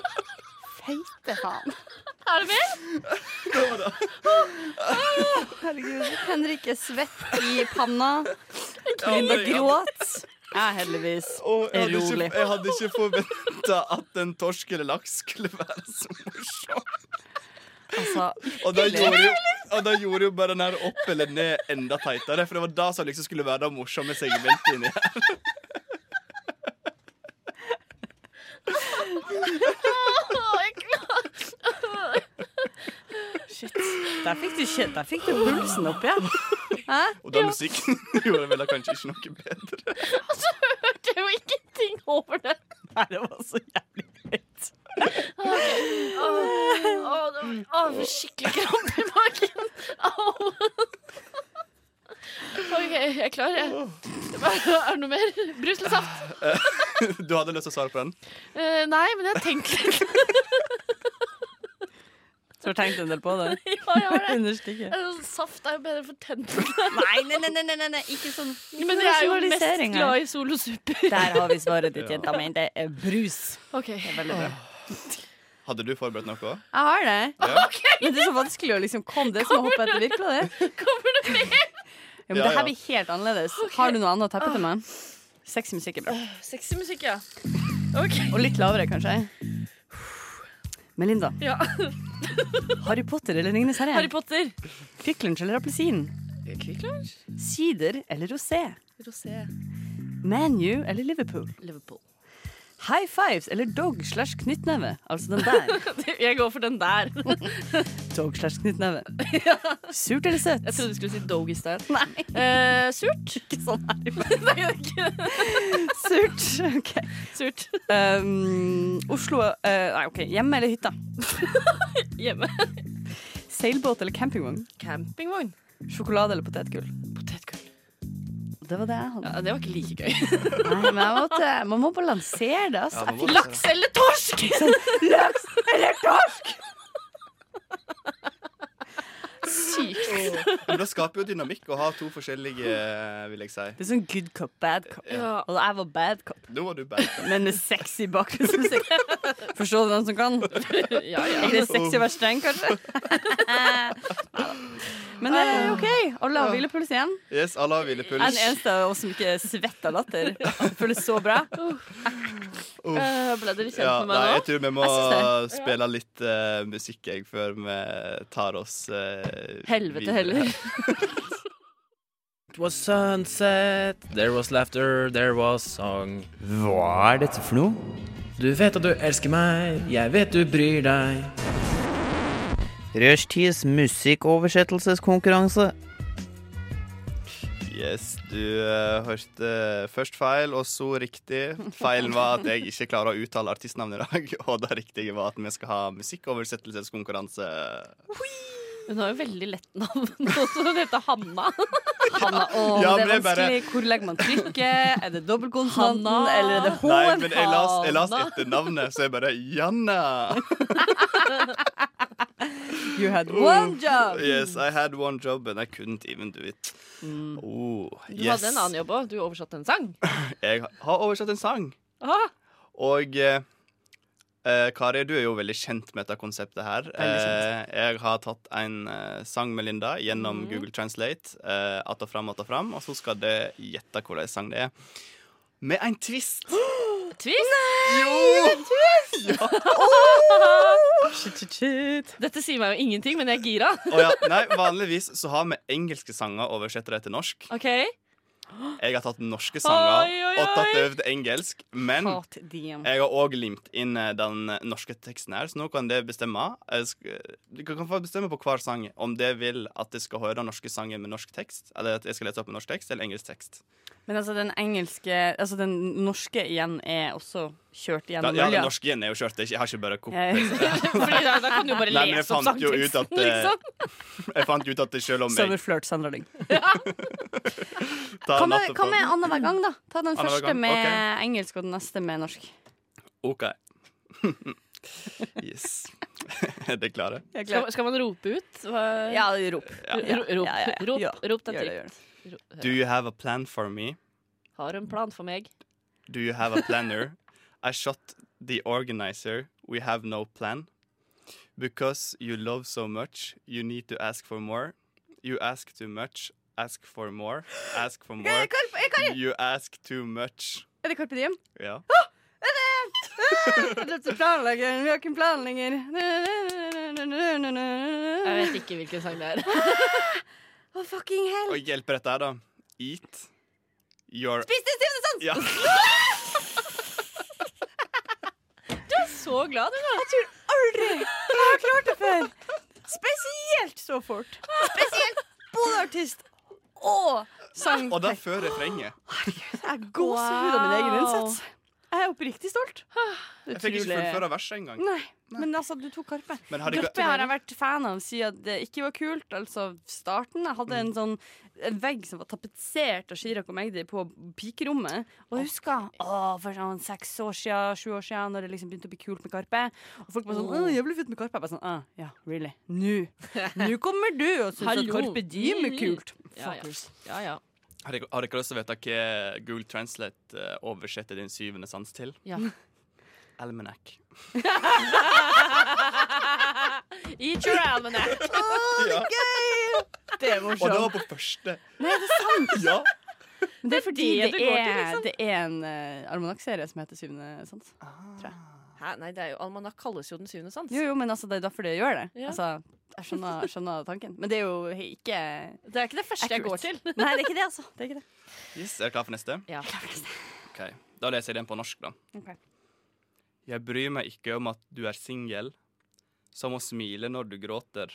S6: Feite faen.
S7: Er det mer?
S6: Herregud. Henrik er svett i panna. Linda
S5: herregud.
S6: gråter. Jeg er heldigvis
S5: Å, jeg, hadde
S6: rolig.
S5: ikke, jeg hadde ikke forventa at en torsk eller laks skulle være så morsom.
S6: Altså,
S5: Og da gjorde jo, og da gjorde jo bare den her opp eller ned enda teitere, for det var det som liksom skulle være det morsomme segmentet inni her.
S7: Å, jeg klarer
S6: shit. Der fikk du, kjen- der fikk du pulsen opp igjen.
S5: Og da musikken <laughs> gjorde vel da kanskje ikke noe bedre.
S7: <laughs> det jo ingenting over det.
S6: Nei, det var så jævlig høyt.
S7: Å, å, det var- å, jeg får skikkelig krampe i magen. Å, klar, jeg. Er det noe mer? Bruselsaft?
S5: Du hadde lyst til å svare på den?
S7: Eh, nei, men jeg tenker litt.
S6: Så har du tenkt en del på det?
S7: Ja, jeg har det.
S6: Innerst ikke.
S7: Eh, Saft er jo bedre for tennene.
S6: Nei, nei, nei, nei, nei, nei, ikke sånn.
S7: Men jeg er jo mest
S6: Rasjonalisering her.
S7: glad i solosupper.
S6: Der har vi svaret ditt, jenta mi. Det er brus.
S7: Ok,
S6: Veldig bra.
S5: Hadde du forberedt noe?
S6: Jeg har det.
S5: Ja.
S6: Men det er så vanskelig å liksom komme det som å hoppe etter virkelig det.
S7: Kommer det mer?
S6: Ja, men
S5: Ja,
S6: det her
S5: ja.
S6: blir helt annerledes. Har du noe annet å teppe til meg? Sexy musikk er bra.
S7: Sexy musikk, ja. Ok.
S6: Og litt lavere, kanskje. Melinda.
S7: Ja.
S6: <laughs> Harry Potter eller Ringenes herre?
S7: Harry Potter.
S6: Kvikk Lunsj eller appelsin?
S7: Kvikk Lunsj?
S6: Sider eller rosé?
S7: Rosé.
S6: ManU eller Liverpool?
S7: Liverpool.
S6: High fives eller dog slash knyttneve? Altså den der.
S7: Jeg går for den der.
S6: <laughs>
S7: <laughs>
S6: Dog slash <laughs> knyttneve. Surt eller søtt?
S7: Jeg trodde du skulle si dog i sted.
S6: Nei,
S7: Eh, surt.
S6: <laughs> ikke sånn
S7: <laughs>
S6: her.
S7: Nei, det er ikke
S6: <laughs> Surt. <laughs> Ok.
S7: Surt.
S6: Um, Oslo eh, Nei, OK. Hjemme eller hytta?
S7: Hjemme.
S6: Seilbåt eller campingvogn?
S7: Campingvogn.
S6: Sjokolade eller potetgull?
S7: Potetgull.
S6: Det var det jeg hadde.
S7: Ja, det var ikke like gøy.
S6: Nei, men jeg måtte, man må balansere det, altså. Sånn,
S5: Ja, man må
S7: Laks eller torsk!
S6: Laks eller torsk!
S7: Sykt.
S5: Men det skaper jo dynamikk å ha to forskjellige, eh, vil jeg si.
S6: Det er sånn good cop, bad cop.
S7: Ja.
S6: Og jeg var bad cop,
S5: Nå var du bad.
S6: men med sexy <laughs> bakgrunnsmusikk. Forstår du den som kan?
S7: Ja, ja.
S6: <laughs> Er det sexy å være streng,
S5: <laughs>
S6: kanskje? Men det er OK. Alle har hvilepuls igjen.
S5: Yes, alle har
S6: Jeg er
S5: hvilepuls.
S6: den eneste av oss som ikke svetter av latter. Det Føles så bra.
S7: Eh, ble dere kjent
S5: Ja,
S7: med
S5: nei,
S7: meg nå?
S5: jeg tror vi må
S6: Jeg
S5: spille litt eh, musikk jeg, før vi tar oss eh,
S7: Helvete
S5: videre.
S7: heller.
S2: It was sunset, there was laughter, there was song.
S9: Hva er dette for noe?
S2: Du vet at du elsker meg, jeg vet du bryr deg.
S9: Rushtids musikkoversettelseskonkurranse.
S5: Yes, du eh, hørte først feil, og så riktig. Feilen var at jeg ikke klarer å uttale artistnavnet i dag, <laughs> og det riktige var at vi skal ha musikkoversettelseskonkurranse.
S7: Hun har jo veldig lett navn også. Hun heter Hanna.
S6: Hanna, å,
S5: Ja,
S6: det
S5: men
S6: er
S5: det er bare-
S6: vanskelig. Hvor legger man trykket? Er det dobbeltkonsonanten,
S7: Hanna.
S6: eller er det
S5: Nei,
S6: H-en?
S5: men jeg las, jeg las etter navnet, så jeg bare Janna.
S6: You had one job!
S5: Yes, I had one job and I couldn't even do it. Oh,
S7: Mm. Du
S5: yes.
S7: hadde en annen jobb òg. Du oversatte en sang.
S5: Jeg har oversatt en sang.
S7: Ah,
S5: Og eh, eh, Kari, du er jo veldig kjent med dette konseptet her. Eh, jeg har tatt en eh, sang med Linda gjennom
S7: Mhm.
S5: Google Translate. Eh, att og fram, att og fram. Og så skal det gjette hvordan sang det er. Med en twist!
S7: twist.
S5: Jo!
S7: <laughs>
S6: Shit, shit, shit.
S7: Dette sier meg jo ingenting, men jeg er gira.
S5: Å ja. Nei, vanligvis så har vi engelske sanger oversett det til norsk.
S7: Ok,
S5: Jeg har tatt norske sanger
S7: Ah. Oi, oi, oi.
S5: og tatt det over til engelsk. Men
S6: Hot DM.
S5: Jeg har òg limt inn eh, den norske teksten her, så nå kan det bestemme. Eh, sk- Dere kan få bestemme på hver sang om det vil at jeg skal høre den norske sangen med norsk tekst, eller at jeg skal lese opp med norsk tekst, eller engelsk tekst.
S6: Men altså, den engelske Altså, den norske igjen er også kjørt
S5: Da,
S6: gjennom
S5: ja,
S6: olja.
S5: den norske igjen er jo kjørt, det er ikke- jeg har ikke bare <laughs> kokt.
S6: Eh,
S7: Fordi da, da kan du jo bare
S5: Nei, men jeg
S7: lese opp
S5: fant jo ut at
S7: sangteksten,
S5: det-
S7: liksom.
S5: <laughs> Jeg fant ut at det selv om jeg
S6: Summerflirt, Sandra Lyng.
S5: tar
S6: Hva med,
S5: natta
S6: hva
S5: på
S6: med annenhver gang, da? Ta den
S5: Annenhver
S6: første
S5: gang,
S6: med
S5: ok.
S6: engelsk og den neste med norsk.
S5: OK. <laughs> Yes. Er dere klare?
S7: Skal, skal man rope ut? Hva-
S6: Ja, rop.
S5: Ja.
S7: Ro- Rop,
S6: Ja, ja, ja.
S7: rop,
S6: Ja,
S7: rop deg til.
S6: gjør det, gjør det.
S7: Ro-
S5: Do you have a plan for me?
S7: Har en plan for meg.
S5: Do you have a planner? I shot the organizer. We have no plan. Because you love so much, you need to ask for more. You ask too much. Ask for more. Ask for more. You ask too much.
S6: Er det Carpe Diem? <laughs>
S5: Ja.
S6: Planlegger, vi har ikke en planlegger.
S7: Jeg vet ikke hvilken sang det er.
S6: Å, fucking hell.
S5: Og hjelper dette her, da? Eat your
S6: Spis det, Steve, det er sant!
S5: Ja.
S7: Så glad du da.
S6: Aldri! Jeg har klart det før. Spesielt så fort. Spesielt både artist og sang.
S5: Og det er før refrenget.
S6: Jeg gåsehud av min egen
S7: Wow.
S6: innsats. Jeg jeg er oppriktig
S7: <sighs>
S6: stolt.
S5: Jeg fikk ikke fullføre verset engang.
S6: Nei, men altså, du tok Karpe.
S5: Men har ikke
S6: Karpe har jeg vært fan av siden det ikke var kult. Altså starten. Jeg hadde
S5: Mm.
S6: en sånn en vegg som var tapetsert av Chirag og Magdi på pikerommet. Og jeg husker å, for sånn seks år siden, sju år siden, når det liksom begynte å bli kult med Karpe. Og folk var sånn Å, jævlig fett med Karpe. Jeg bare sånn Å, ja, really?
S5: <laughs>
S6: Nå? Nå kommer du og syns at
S7: Hallo.
S6: Karpe Diem er kult.
S7: Ja, ja.
S6: Fuckers.
S7: Ja, ja.
S5: Har dere- har dere lyst til å vite hva Google Translate eh, oversetter din syvende sans til?
S7: Ja.
S5: Almanac.
S7: Eat your almanac.
S5: Ja.
S6: Det er
S5: Og det
S6: morsomt.
S5: var på første.
S6: Nei, det er sant.
S5: Ja.
S6: Men det er fordi
S7: det
S6: det,
S7: du går
S6: er,
S7: til, liksom.
S6: det er en uh, almanakkserie som heter Syvende sans.
S7: Hæ, nei, det er jo Almanak kalles jo den syvende sans.
S6: Jo, jo, men altså, det er derfor det gjør det.
S7: Ja.
S6: Altså, jeg skjønner, jeg skjønner tanken. Men det er jo ikke
S7: Det er ikke det første jeg går til.
S6: Nei, det er ikke det, altså. Det er ikke det.
S5: Yes, er dere klar for neste?
S7: Ja.
S5: Ok, Da leser jeg den på norsk, da.
S6: Ok.
S5: Jeg bryr meg ikke om at du er singel, som å smile når du gråter,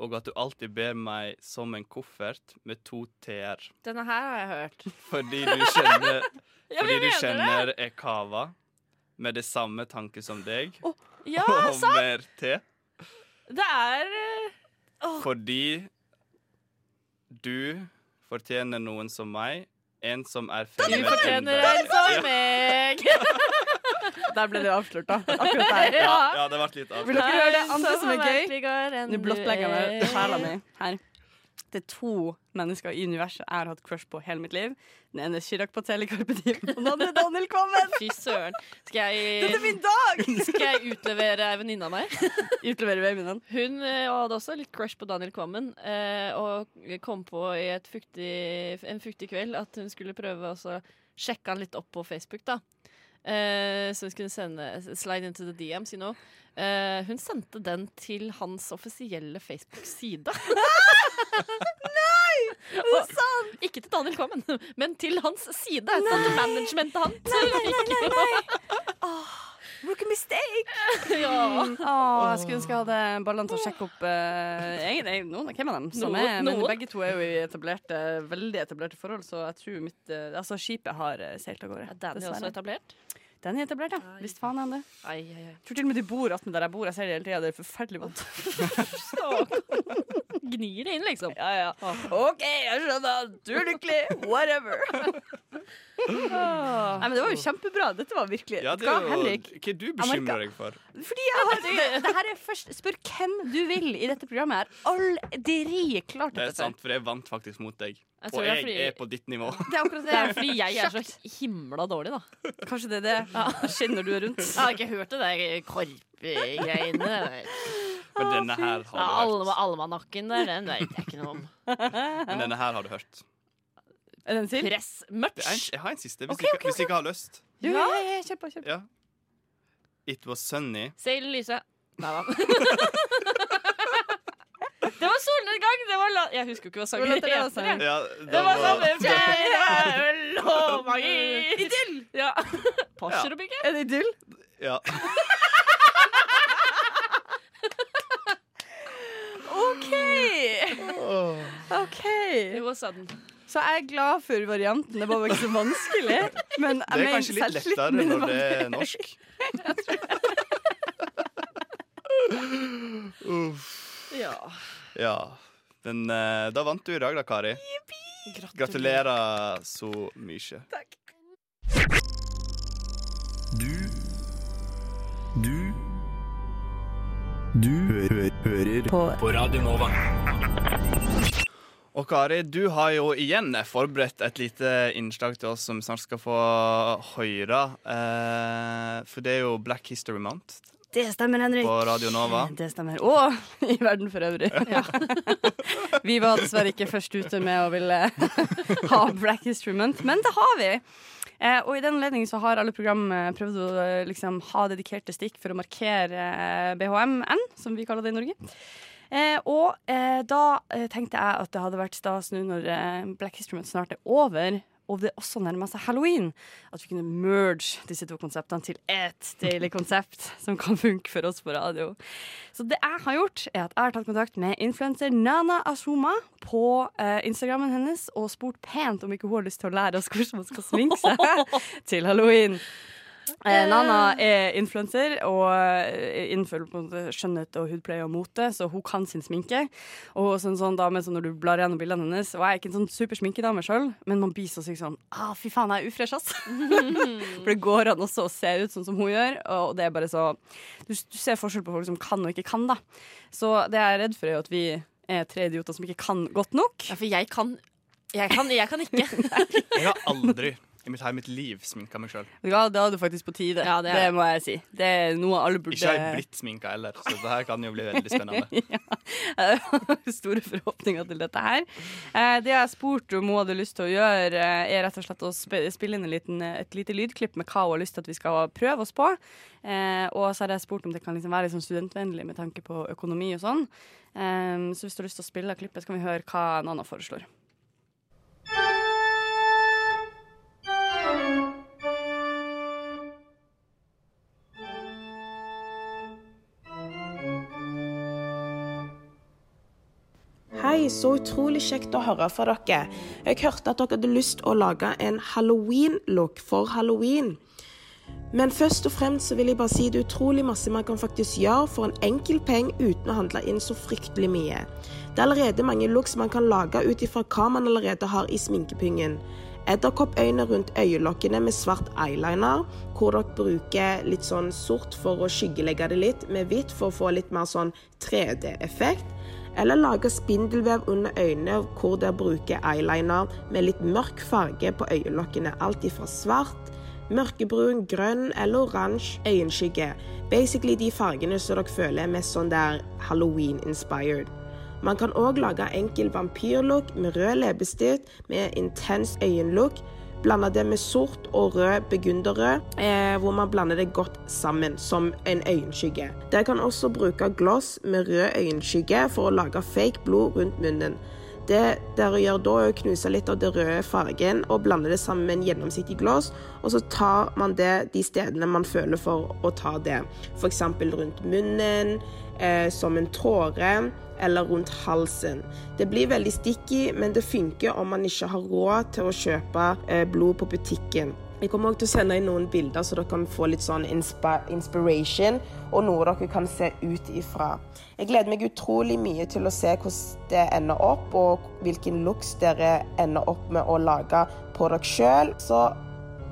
S5: og at du alltid ber meg som en koffert med to t-er,
S7: Denne her har jeg hørt.
S5: fordi du kjenner,
S7: Ja,
S5: fordi du
S7: men jeg mener det.
S5: kjenner er kava med det samme tanke som deg,
S7: Ja,
S5: og
S7: sant!
S5: mer te,
S7: Det er eh,
S5: fordi du fortjener noen som meg, en som er fremmed
S7: fortjener
S5: under-
S7: en som meg.
S6: Der ble det avslørt, da. Akkurat der. <laughs>
S5: Ja, ja, det ble litt
S6: Vil
S5: avslørt.
S6: dere høre det andre som er gøy?
S7: gøy?
S6: Nå blottlegger jeg meg sjela mi her. Det er to mennesker i universet jeg har hatt crush på hele mitt liv. Den ene er Chirag Patel i Carpe Diem, og den andre er Daniel Kvammen.
S7: Fy søren. Skal
S6: Dette er
S7: jeg,
S6: min dag! <laughs>
S7: skal jeg utlevere ei venninne av meg?
S6: Utleverer babyen din.
S7: Hun eh, hadde også litt crush på Daniel Kvammen, eh, og kom på i et fuktig, en fuktig kveld at hun skulle prøve å så sjekke han litt opp på Facebook. da. Eh, så hun skulle sende slide into the DMs, you know. Eh, hun sendte den til hans offisielle Facebook-side. Nei! Det er sant! Ikke til Daniel Kvammen, men til hans side. Sånn til managementet hans. Nei, nei, nei,
S6: Rookie mistake!
S7: Ja.
S6: Åh, jeg skulle ønske jeg hadde ballene til å sjekke opp eh, jeg, nei, noen av hvem av dem som
S7: Noen-
S6: er Men
S7: noen.
S6: begge to er jo i etablerte, veldig etablerte forhold, så jeg tror mitt eh, Altså, skipet har eh, seilt av gårde.
S7: Er Daniel også
S6: dessverre.
S7: etablert?
S6: Den er etablert, ja. Visst faen er han det.
S7: Ai, ai, ai.
S6: Jeg tror til og med de bor attmed der jeg bor. Jeg ser det hele tida. Det er forferdelig vondt.
S7: Gnir det inn, liksom.
S6: Ja, ja. OK, jeg skjønner. Du er lykkelig. Whatever. Nei, men Det var jo kjempebra. Dette var virkelig
S5: Ja, det
S6: Hva,
S5: er jo
S6: Henrik?
S5: hva du bekymrer deg for.
S6: Fordi jeg har det, det her er først Spør hvem du vil i dette programmet. Jeg har aldri klart
S5: Det er
S6: dette før.
S5: sant, for jeg vant faktisk mot deg.
S7: Jeg tror
S5: Og
S7: det er
S5: jeg
S7: fordi-
S5: er på ditt nivå.
S6: Det er akkurat
S7: Det er
S6: det.
S7: fordi jeg er så himla dårlig, da.
S6: Kanskje det er det. <laughs> Skinner du rundt?
S7: Jeg har ikke hørt det der korpgreiene.
S5: Men denne her
S7: Ja,
S5: har du hørt.
S7: almanakken der, den vet jeg ikke noe om.
S5: Men denne her har du hørt.
S6: Er det en til?
S5: Det er en,
S7: Pressmerch.
S5: jeg har en siste, hvis
S6: Ok,
S5: du ikke,
S6: ok,
S5: hvis du ikke har lyst.
S6: Ja, ja, ja, ja, kjør på. Kjør på.
S5: Ja. It was sunny.
S7: Seil lyse. Nei da. <laughs> Det var solnedgang! Det var la jeg husker jo ikke hva sangen
S6: Det altså? var låter
S5: Ja,
S7: heter. jeg. Det
S6: det var
S7: var
S5: da-
S7: sammen fjerde øl og magi. Idyll! Ja. Passer å bygge.
S6: Er det idyll?
S5: ja.
S6: OK! OK.
S7: Det var sudden.
S6: Så jeg er glad for varianten. Det var ikke så vanskelig. Men jeg
S5: Det er
S6: mener
S5: kanskje litt
S6: selvtilliten
S5: lettere
S6: min
S5: når
S6: var-
S5: det er
S6: <laughs>
S5: norsk. Uff.
S7: Ja.
S5: Ja. Men eh, da vant du i dag, da, Kari. Gratulerer så mye.
S10: Du Du Du hø hø hører på. på Radio Nova.
S5: Og Kari, du har jo igjen forberedt et lite innslag til oss som snart skal få høre. Eh, for det er jo Black History Month
S6: Det stemmer, Henrik.
S5: på Radio Nova.
S6: Det stemmer. Og i verden for øvrig. <laughs> vi var dessverre ikke først ute med å ville <laughs> ha Black History Month, men det har vi. Eh, og i den anledning så har alle program eh, prøvd å eh, liksom, ha dedikerte stikk for å markere eh, BHMN, som vi kaller det i Norge. Eh, og eh, da eh, tenkte jeg at det hadde vært stas nå når eh, Black History Month snart er over. Og det også nærmer seg halloween. At vi kunne merge disse to konseptene til ett deilig konsept som kan funke for oss på radio. Så det jeg har gjort, er at jeg har tatt kontakt med influenser Nana Ashoma på eh, Instagrammen hennes og spurt pent om ikke hun har lyst til å lære oss hvordan man skal sminke seg til halloween. Eh, Nana er influenser og eh, innenfor på en måte skjønnhet og hudpleie og mote, så hun kan sin sminke. Og hun er også en sånn dame som når du blar gjennom bildene hennes Og jeg er ikke en sånn supersminkedame sjøl, men man blir så sykt sånn ah, Fy faen, jeg er ufresh, ass! <laughs> For det går an også å se ut sånn som hun gjør, og det er bare så Du, du ser forskjell på folk som kan og ikke kan, da. Så det jeg er redd for, er jo at vi er tre idioter som ikke kan godt nok.
S7: Ja, for jeg kan Jeg kan, jeg kan ikke.
S5: Jeg har aldri i mitt, her, mitt liv sminka meg sjøl.
S6: Ja, det er du faktisk på tide.
S7: Ja, det
S6: det,
S7: er det.
S6: må jeg si. Det er noe alle burde
S5: Ikke har jeg blitt sminka heller, så det her kan jo bli veldig
S6: <laughs>
S5: spennende.
S6: Jeg har store forhåpninger til dette her. Eh, Det jeg spurte om hun hadde lyst til å gjøre, eh, er rett og slett å sp- spille inn en liten, eh, et lite lydklipp med hva hun har lyst til at vi skal prøve oss på. Eh, Og så har jeg spurt om det kan liksom være litt sånn studentvennlig med tanke på økonomi og sånn. Eh, Så hvis du har lyst til å spille av klippet, så kan vi høre hva Nana foreslår.
S11: Hei, så utrolig kjekt å høre fra dere. Jeg hørte at dere hadde lyst å lage en halloween-look for halloween. Men først og fremst så vil jeg bare si det er utrolig masse man kan faktisk gjøre for en enkel penge uten å handle inn så fryktelig mye. Det er allerede mange looks man kan lage ut ifra hva man allerede har i sminkepungen. Edderkoppøyne rundt øyelokkene med svart eyeliner, hvor dere bruker litt sånn sort for å skyggelegge det litt, med hvitt for å få litt mer sånn 3D-effekt. Eller lage spindelvev under øynene, hvor dere bruker eyeliner med litt mørk farge på øyelokkene. Alt ifra svart mørkebrun, grønn eller oransje øyenskygge. Basically de fargene som dere føler er mest sånn der Halloween-inspired. Man kan òg lage enkel vampyrlook med rød leppestift med intens øyenlook. Blande det med sort og rød burgunderrød, eh, hvor man blander det godt sammen som en øyenskygge. Dere kan også bruke gloss med rød øyenskygge for å lage fake blod rundt munnen. Det dere gjør da, er å knuse litt av den røde fargen og blande det sammen med en gjennomsiktig glass, og så tar man det de stedene man føler for å ta det. F.eks. rundt munnen, eh, som en tåre, eller rundt halsen. Det blir veldig sticky, men det funker om man ikke har råd til å kjøpe eh, blod på butikken. Jeg kommer også til å sende inn noen bilder, så dere kan få litt sånn inspa inspiration, og noe dere kan se ut ifra. Jeg gleder meg utrolig mye til å se hvordan det ender opp, og hvilken looks dere ender opp med å lage på dere sjøl. Så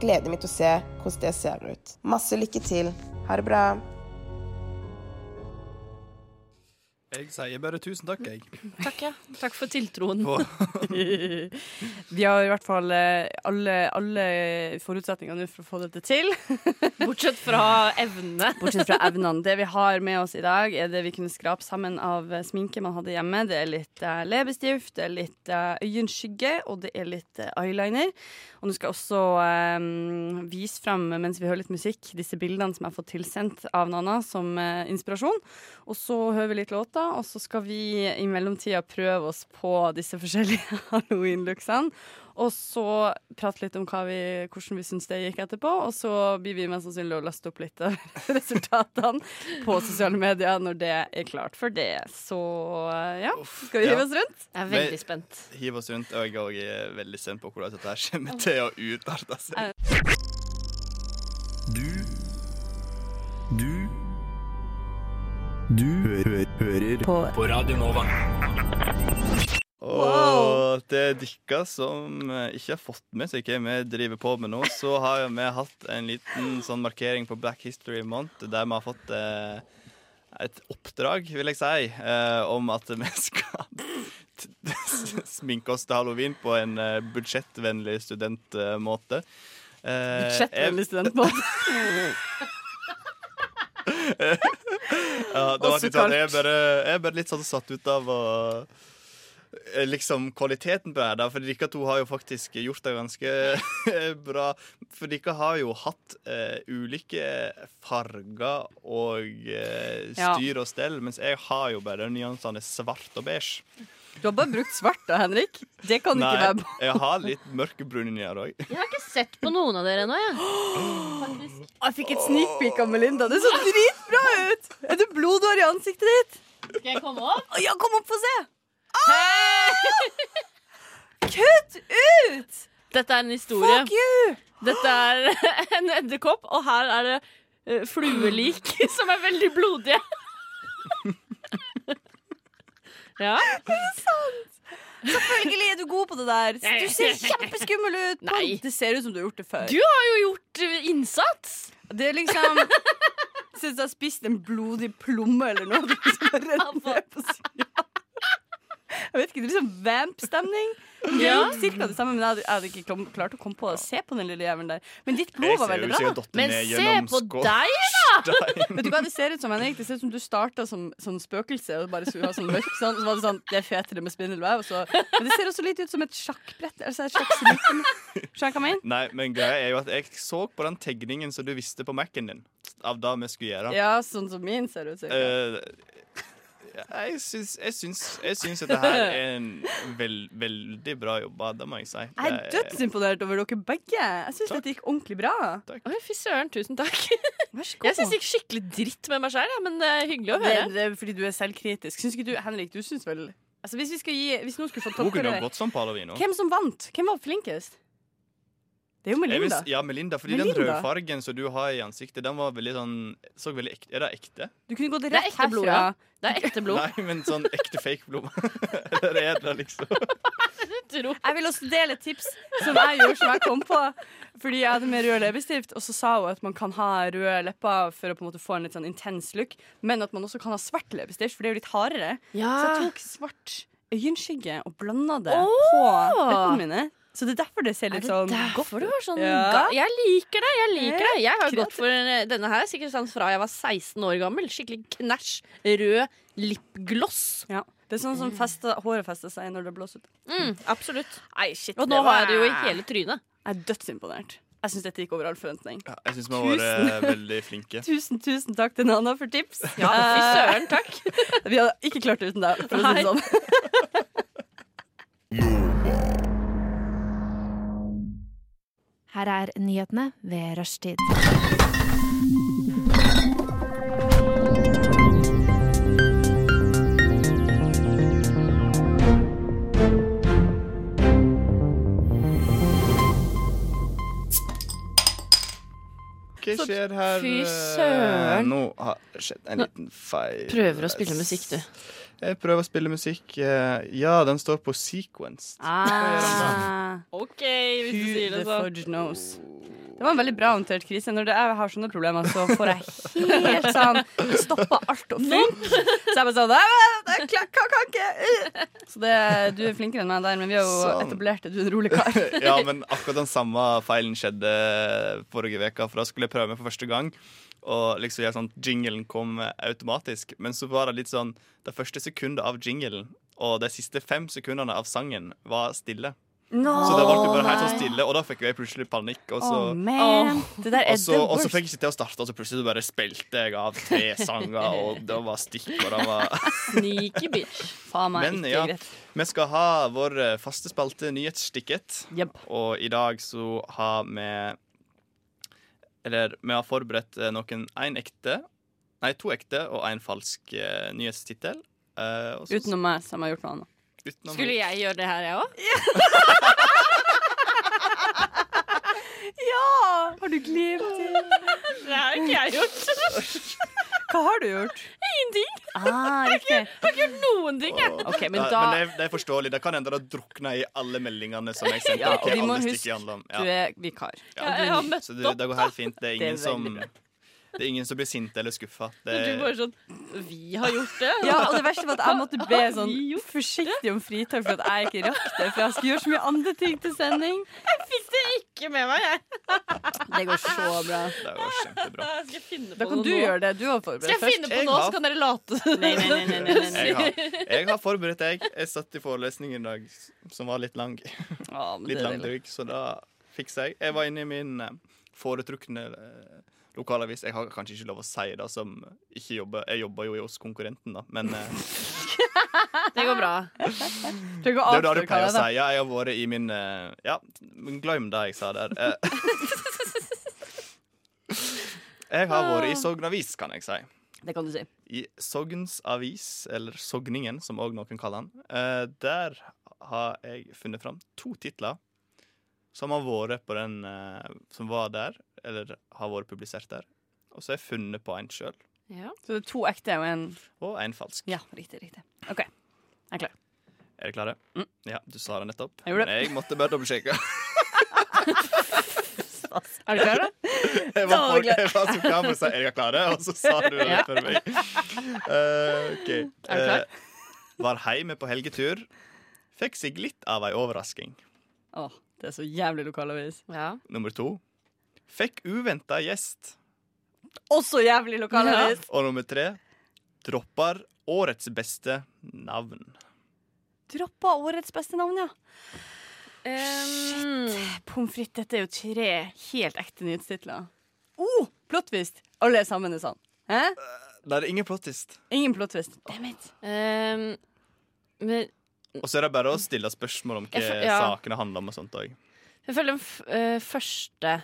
S11: gleder jeg meg til å se hvordan det ser ut. Masse lykke til. Ha det bra.
S5: <laughs> Jeg sier bare tusen takk, jeg.
S7: Takk, ja. Takk for tiltroen.
S6: Vi har i hvert fall eh, alle, alle forutsetninger nå for å få dette til.
S7: Bortsett fra evnene.
S6: Bortsett fra evnene. Det vi har med oss i dag, er det vi kunne skrape sammen av eh, sminke man hadde hjemme. Det er litt eh, leppestift, det er litt eh, øyenskygge, og det er litt eh, eyeliner. Og nå skal jeg også eh, vise frem, mens vi hører litt musikk, disse bildene som jeg har fått tilsendt av Nana som eh, inspirasjon. Og så hører vi litt låter, og så skal vi i mellomtida prøve oss på disse forskjellige <laughs> halloween-looksene. Og så prate litt om hva vi, hvordan vi syns det gikk etterpå. Og så blir vi mest sannsynlig å laste opp litt av <laughs> resultatene på sosiale medier når det er klart for det. Så eh, ja, skal vi
S5: ja.
S6: hive oss rundt?
S7: Jeg er
S5: veldig Men-
S7: spent.
S5: Hiv oss rundt, og jeg er også veldig spent på hvordan dette her kommer til å utarte seg.
S10: Du Du Du hø hø hører på. på Radio Nova.
S5: Og til dere som eh, ikke har fått med seg hva vi driver på med nå, så har jo vi hatt en liten sånn markering på Black History Month der vi har fått eh, et oppdrag, vil jeg si, eh, om at vi skal <laughs> t- sminke oss til halloween på en eh, budsjettvennlig studentmåte. Eh,
S6: Budsjettvennlig
S5: jeg- <laughs>
S6: studentbåt.
S5: Ja, det var
S6: Også
S5: litt sånn,
S6: kaldt.
S5: jeg, er bare, jeg er bare litt sånn satt ut av å, eh, liksom kvaliteten på det her. da, For dere to har jo faktisk gjort det ganske <laughs> bra. For dere har jo hatt eh, ulike farger og eh,
S6: Ja.
S5: styr og stell, mens jeg har jo bare nyansene svart og beige.
S6: Du har bare brukt svart da, Henrik. Det kan du
S5: Nei,
S6: ikke være på.
S5: jeg har litt mørkebrune nyer òg.
S7: Jeg har ikke sett på noen av dere ennå, jeg.
S6: Jeg fikk et sneak peek av Melinda. Det så dritbra ut! Er det blodår i ansiktet ditt?
S7: Skal jeg komme opp?
S6: Å ja, kom opp, få se! Kutt ut! <laughs>
S7: Dette er en historie.
S6: Fuck you!
S7: Dette er <laughs> en edderkopp, og her er det eh, fluelik <laughs> som er veldig blodige. <laughs> ja.
S6: Selvfølgelig er du god på det der. Du ser kjempeskummel ut. Pam.
S7: Nei.
S6: Det ser ut som du har gjort det før.
S7: Du har jo gjort eh, innsats.
S6: Det er liksom Syns jeg har spist en blodig plomme eller noe. <laughs> Det er liksom bare rett ned på siden. Jeg vet ikke, det er liksom vamp-stemning. Ja.
S7: Ja.
S6: Cirka det samme, men jeg hadde, jeg hadde ikke klom- klart å komme på å se på den lille jævelen der. Men ditt blod
S5: Jeg
S6: var
S5: ser jo
S6: veldig
S5: ikke
S6: bra.
S5: at dotten Men er se gjennom på skål. deg,
S6: Vet du hva det ser ut som, Henrik? Det ser ut som du starta som, som spøkelse og bare skulle ha sånn mørk sånn. Så var det sånn Det er fetere med spindelvev. og så- Men det ser også litt ut som et sjakkbrett. Altså et
S5: <laughs>
S6: sjakksmykke. Skjønner du hva jeg mener?
S5: Nei, men greia er jo at jeg så på den tegningen som du visste på Mac-en din. Av det vi skulle gjøre.
S6: Ja, sånn som min ser ut. cirka.
S5: Eh, jeg syns, jeg, syns, jeg syns at det her er en vel, veldig bra jobba, det må jeg si.
S6: Jeg er
S5: Det er-
S6: dødsimponert over dere begge. Jeg syns dette gikk ordentlig bra.
S7: Oi, fy søren, tusen takk.
S6: Vær så god.
S7: Jeg syns det gikk skikkelig dritt med meg sjøl, ja, men det er hyggelig å
S6: det,
S7: høre.
S6: det er fordi du er selvkritisk. Syns ikke du, Henrik, du syns vel Altså, hvis, vi skal gi, hvis noen skulle fått
S5: Hun kunne ha
S6: toppkarakter
S5: gått som Palavino.
S6: Hvem som vant? Hvem var flinkest? Det er jo
S5: Jeg vil
S6: Melinda.
S5: s- ja, Melinda, fordi den
S6: Melinda.
S5: rødfargen som du har i ansiktet, den var veldig sånn så veldig ekte. Er det ekte?
S6: Du kunne gått
S7: Det er
S6: rett
S7: ekte blod, ja.
S6: herfra.
S7: Det er ekte blod.
S5: Nei, men sånn ekte fake blod. <laughs> Eller er det liksom
S6: Jeg vil også dele et tips som jeg gjorde som jeg kom på. Fordi jeg hadde med rød leppestift, og så sa hun at man kan ha røde lepper for å på en måte få en litt sånn intens look, men at man også kan ha svart leppestift, for det er jo litt hardere. Så jeg tok svart øyenskygge og blanda det på leppene mine. Så det er derfor det ser
S7: Er
S6: litt
S7: det
S6: sånn godt
S7: derfor du var sånn
S6: Ja.
S7: ga Jeg liker det! Jeg liker det Jeg har
S6: Kreativ.
S7: gått for eh, denne her er sikkert sånn fra jeg var 16 år gammel. Skikkelig knæsj, rød lipgloss.
S6: Ja. Det er sånn som fester, håret fester seg når det blåser ut.
S7: Mm, absolutt. Nei, shit,
S6: Og
S7: Og
S6: nå
S7: nå
S6: var-
S7: har jeg det jo i hele trynet.
S6: Jeg er dødsimponert. Jeg syns dette gikk over all forventning.
S5: Jeg syns vi har vært eh,
S6: Tusen.
S5: veldig flinke.
S6: Tusen, tusen takk til Nana for tips.
S7: Ja, fy søren, takk.
S6: Eh, <laughs> Vi hadde ikke klart det uten deg, for å si det
S7: Nei.
S6: sånn.
S12: Her er nyhetene ved rushtid.
S5: Hva skjer her?
S7: Fy
S5: eh,
S7: søren.
S5: Nå har det skjedd en liten feil.
S7: Prøver å spille musikk, du.
S5: Jeg prøver å spille musikk. eh, Ja, den står på sequence.
S6: Ah.
S7: OK, hvis du sier
S6: the
S7: det sånn.
S6: fudge knows. Det var en veldig bra håndtert krise. Når det er, jeg har sånne problemer, så får jeg helt sånn Det stopper alt å funke. Så jeg bare sånn «Nei, nei, nei, jeg kan, kan ikke. uh.» Så det, du er flinkere enn meg der, men vi har jo
S5: Sånn.
S6: etablert at du er en rolig kar.
S5: <laughs> ja, men akkurat den samme feilen skjedde forrige veka, for da skulle jeg prøve meg for første gang. Og liksom gjøre sånn at jinglen kom automatisk. Men så var det litt sånn Det første sekundet av jinglen og de siste fem sekundene av sangen var stille. Så da ble det bare helt sånn stille, og da fikk jeg plutselig panikk. Og så,
S6: Å, man. Det der er
S5: og så,
S6: the
S5: og så
S6: worst.
S5: fikk jeg ikke til å starte, og så plutselig bare spilte jeg av tre sanger, og det var stikk, og det var
S7: Sneaky bitch.
S6: Faen meg,
S5: Men
S6: ikke
S5: ja,
S6: greit.
S5: vi skal ha vår eh, faste spalte Nyhetsstikket. Og i dag så har vi Eller vi har forberedt eh, noen én ekte Nei, to ekte og én falsk eh, nyhetstittel. Eh, og så-
S6: Utenom meg, som har gjort noe annet.
S5: utenom-
S7: Skulle jeg gjøre det her, jeg òg?
S6: <laughs> Ja! Har du glemt det?
S7: Det har ikke jeg gjort.
S6: Hva har du gjort?
S7: Ingenting.
S6: Ah, riktig.
S7: Jeg har ikke gjort noen ting, jeg.
S6: Ok, men
S5: Nei,
S6: da
S5: men det, er, det er forståelig. Det kan hende det drukner i alle meldingene som jeg sendte.
S6: ja,
S5: dere,
S6: og Vi må
S5: alle
S6: huske
S5: stikker handler om.
S6: du er vikar.
S5: Ja,
S7: jeg har møtt
S5: Så det, det går helt fint. Det er
S6: Det er
S5: ingen som
S6: veldig
S5: det er ingen som blir sint eller skuffa. Det,
S7: Du bare sånn Vi har gjort <laughs> det.
S6: Ja, og det verste var at jeg måtte be
S7: Har
S6: sånn
S7: vi
S6: forsiktig om fritak for at jeg ikke rakk det. For jeg skulle gjøre så mye andre ting til sending.
S7: Fikk det ikke med meg, jeg.
S6: Det går så bra.
S5: det var kjempebra.
S7: Jeg Skal finne på
S6: Da kan
S7: noe
S6: du
S7: nå.
S6: gjøre det. Du var
S7: Skal
S6: forberedt
S7: jeg finne
S6: først.
S7: på
S5: Jeg
S7: noe,
S5: har-
S7: så kan dere <laughs> late som?
S6: Nei, nei, nei, nei, nei, nei, nei.
S5: Jeg har, jeg har forberedt deg. Jeg satt i forelesning i dag som var litt lang.
S6: Ja,
S5: Litt
S6: men det er deilig.
S5: langdryg, så da fiksa jeg. Jeg var inne i min eh, foretrukne eh, lokalavis. Jeg har kanskje ikke lov å si det som ikke jobber. Jeg jobber jo hos konkurrenten, da, men
S6: <laughs>
S5: eh,
S7: Det går bra.
S6: Trenger ikke
S5: det er jo det
S6: å
S5: du
S6: avsløre
S5: pleier å
S6: hva
S5: si. Ja, jeg har vært i min eh, Ja, men glem det jeg sa der. Eh,
S6: <laughs>
S5: Jeg har
S6: Ah.
S5: vært i Sognavis, kan jeg si.
S6: det er. Det kan du si.
S5: I Sogns avis, eller Sogningen, som òg noen kaller den, eh, der har jeg funnet fram to titler som har vært på den eh, som var der, eller har vært publisert der. Og så har jeg funnet på en sjøl,
S6: Så det er to ekte og en
S5: og en falsk.
S6: Ja, riktig, riktig. OK. Jeg er klar.
S5: Er dere klare? Ja, du sa det nettopp.
S6: Jeg gjorde det.
S5: Men jeg måtte bare dobbeltsjekke.
S7: Er du klar,
S5: da? Jeg var, på, jeg var så klar for å si 'er dere klare', og så sa du det
S7: Ja.
S5: før meg. Eh, OK.
S7: Er du klar?
S5: Eh, var hjemme på helgetur. Fikk seg litt av ei overrasking.
S6: Åh, det er så jævlig lokalavis.
S5: Nummer to. Fikk uventa gjest.
S6: Også jævlig lokalavis!
S5: Og nummer tre. Dropper årets beste navn.
S6: Droppa årets beste navn, ja.
S7: Ehm,
S6: Shit. Pommes frites, dette er jo tre helt ekte nyhetstitler. Oh, plottvist! Alle er sammen er sann. Hæ?
S5: Det er ingen plottist.
S6: Ingen plottvist. Damn it.
S7: ehm, men
S5: Og så er det bare å stille spørsmål om hva
S7: Jeg føl- ja.
S5: sakene handler om og sånt òg.
S7: Jeg føler den f eh, første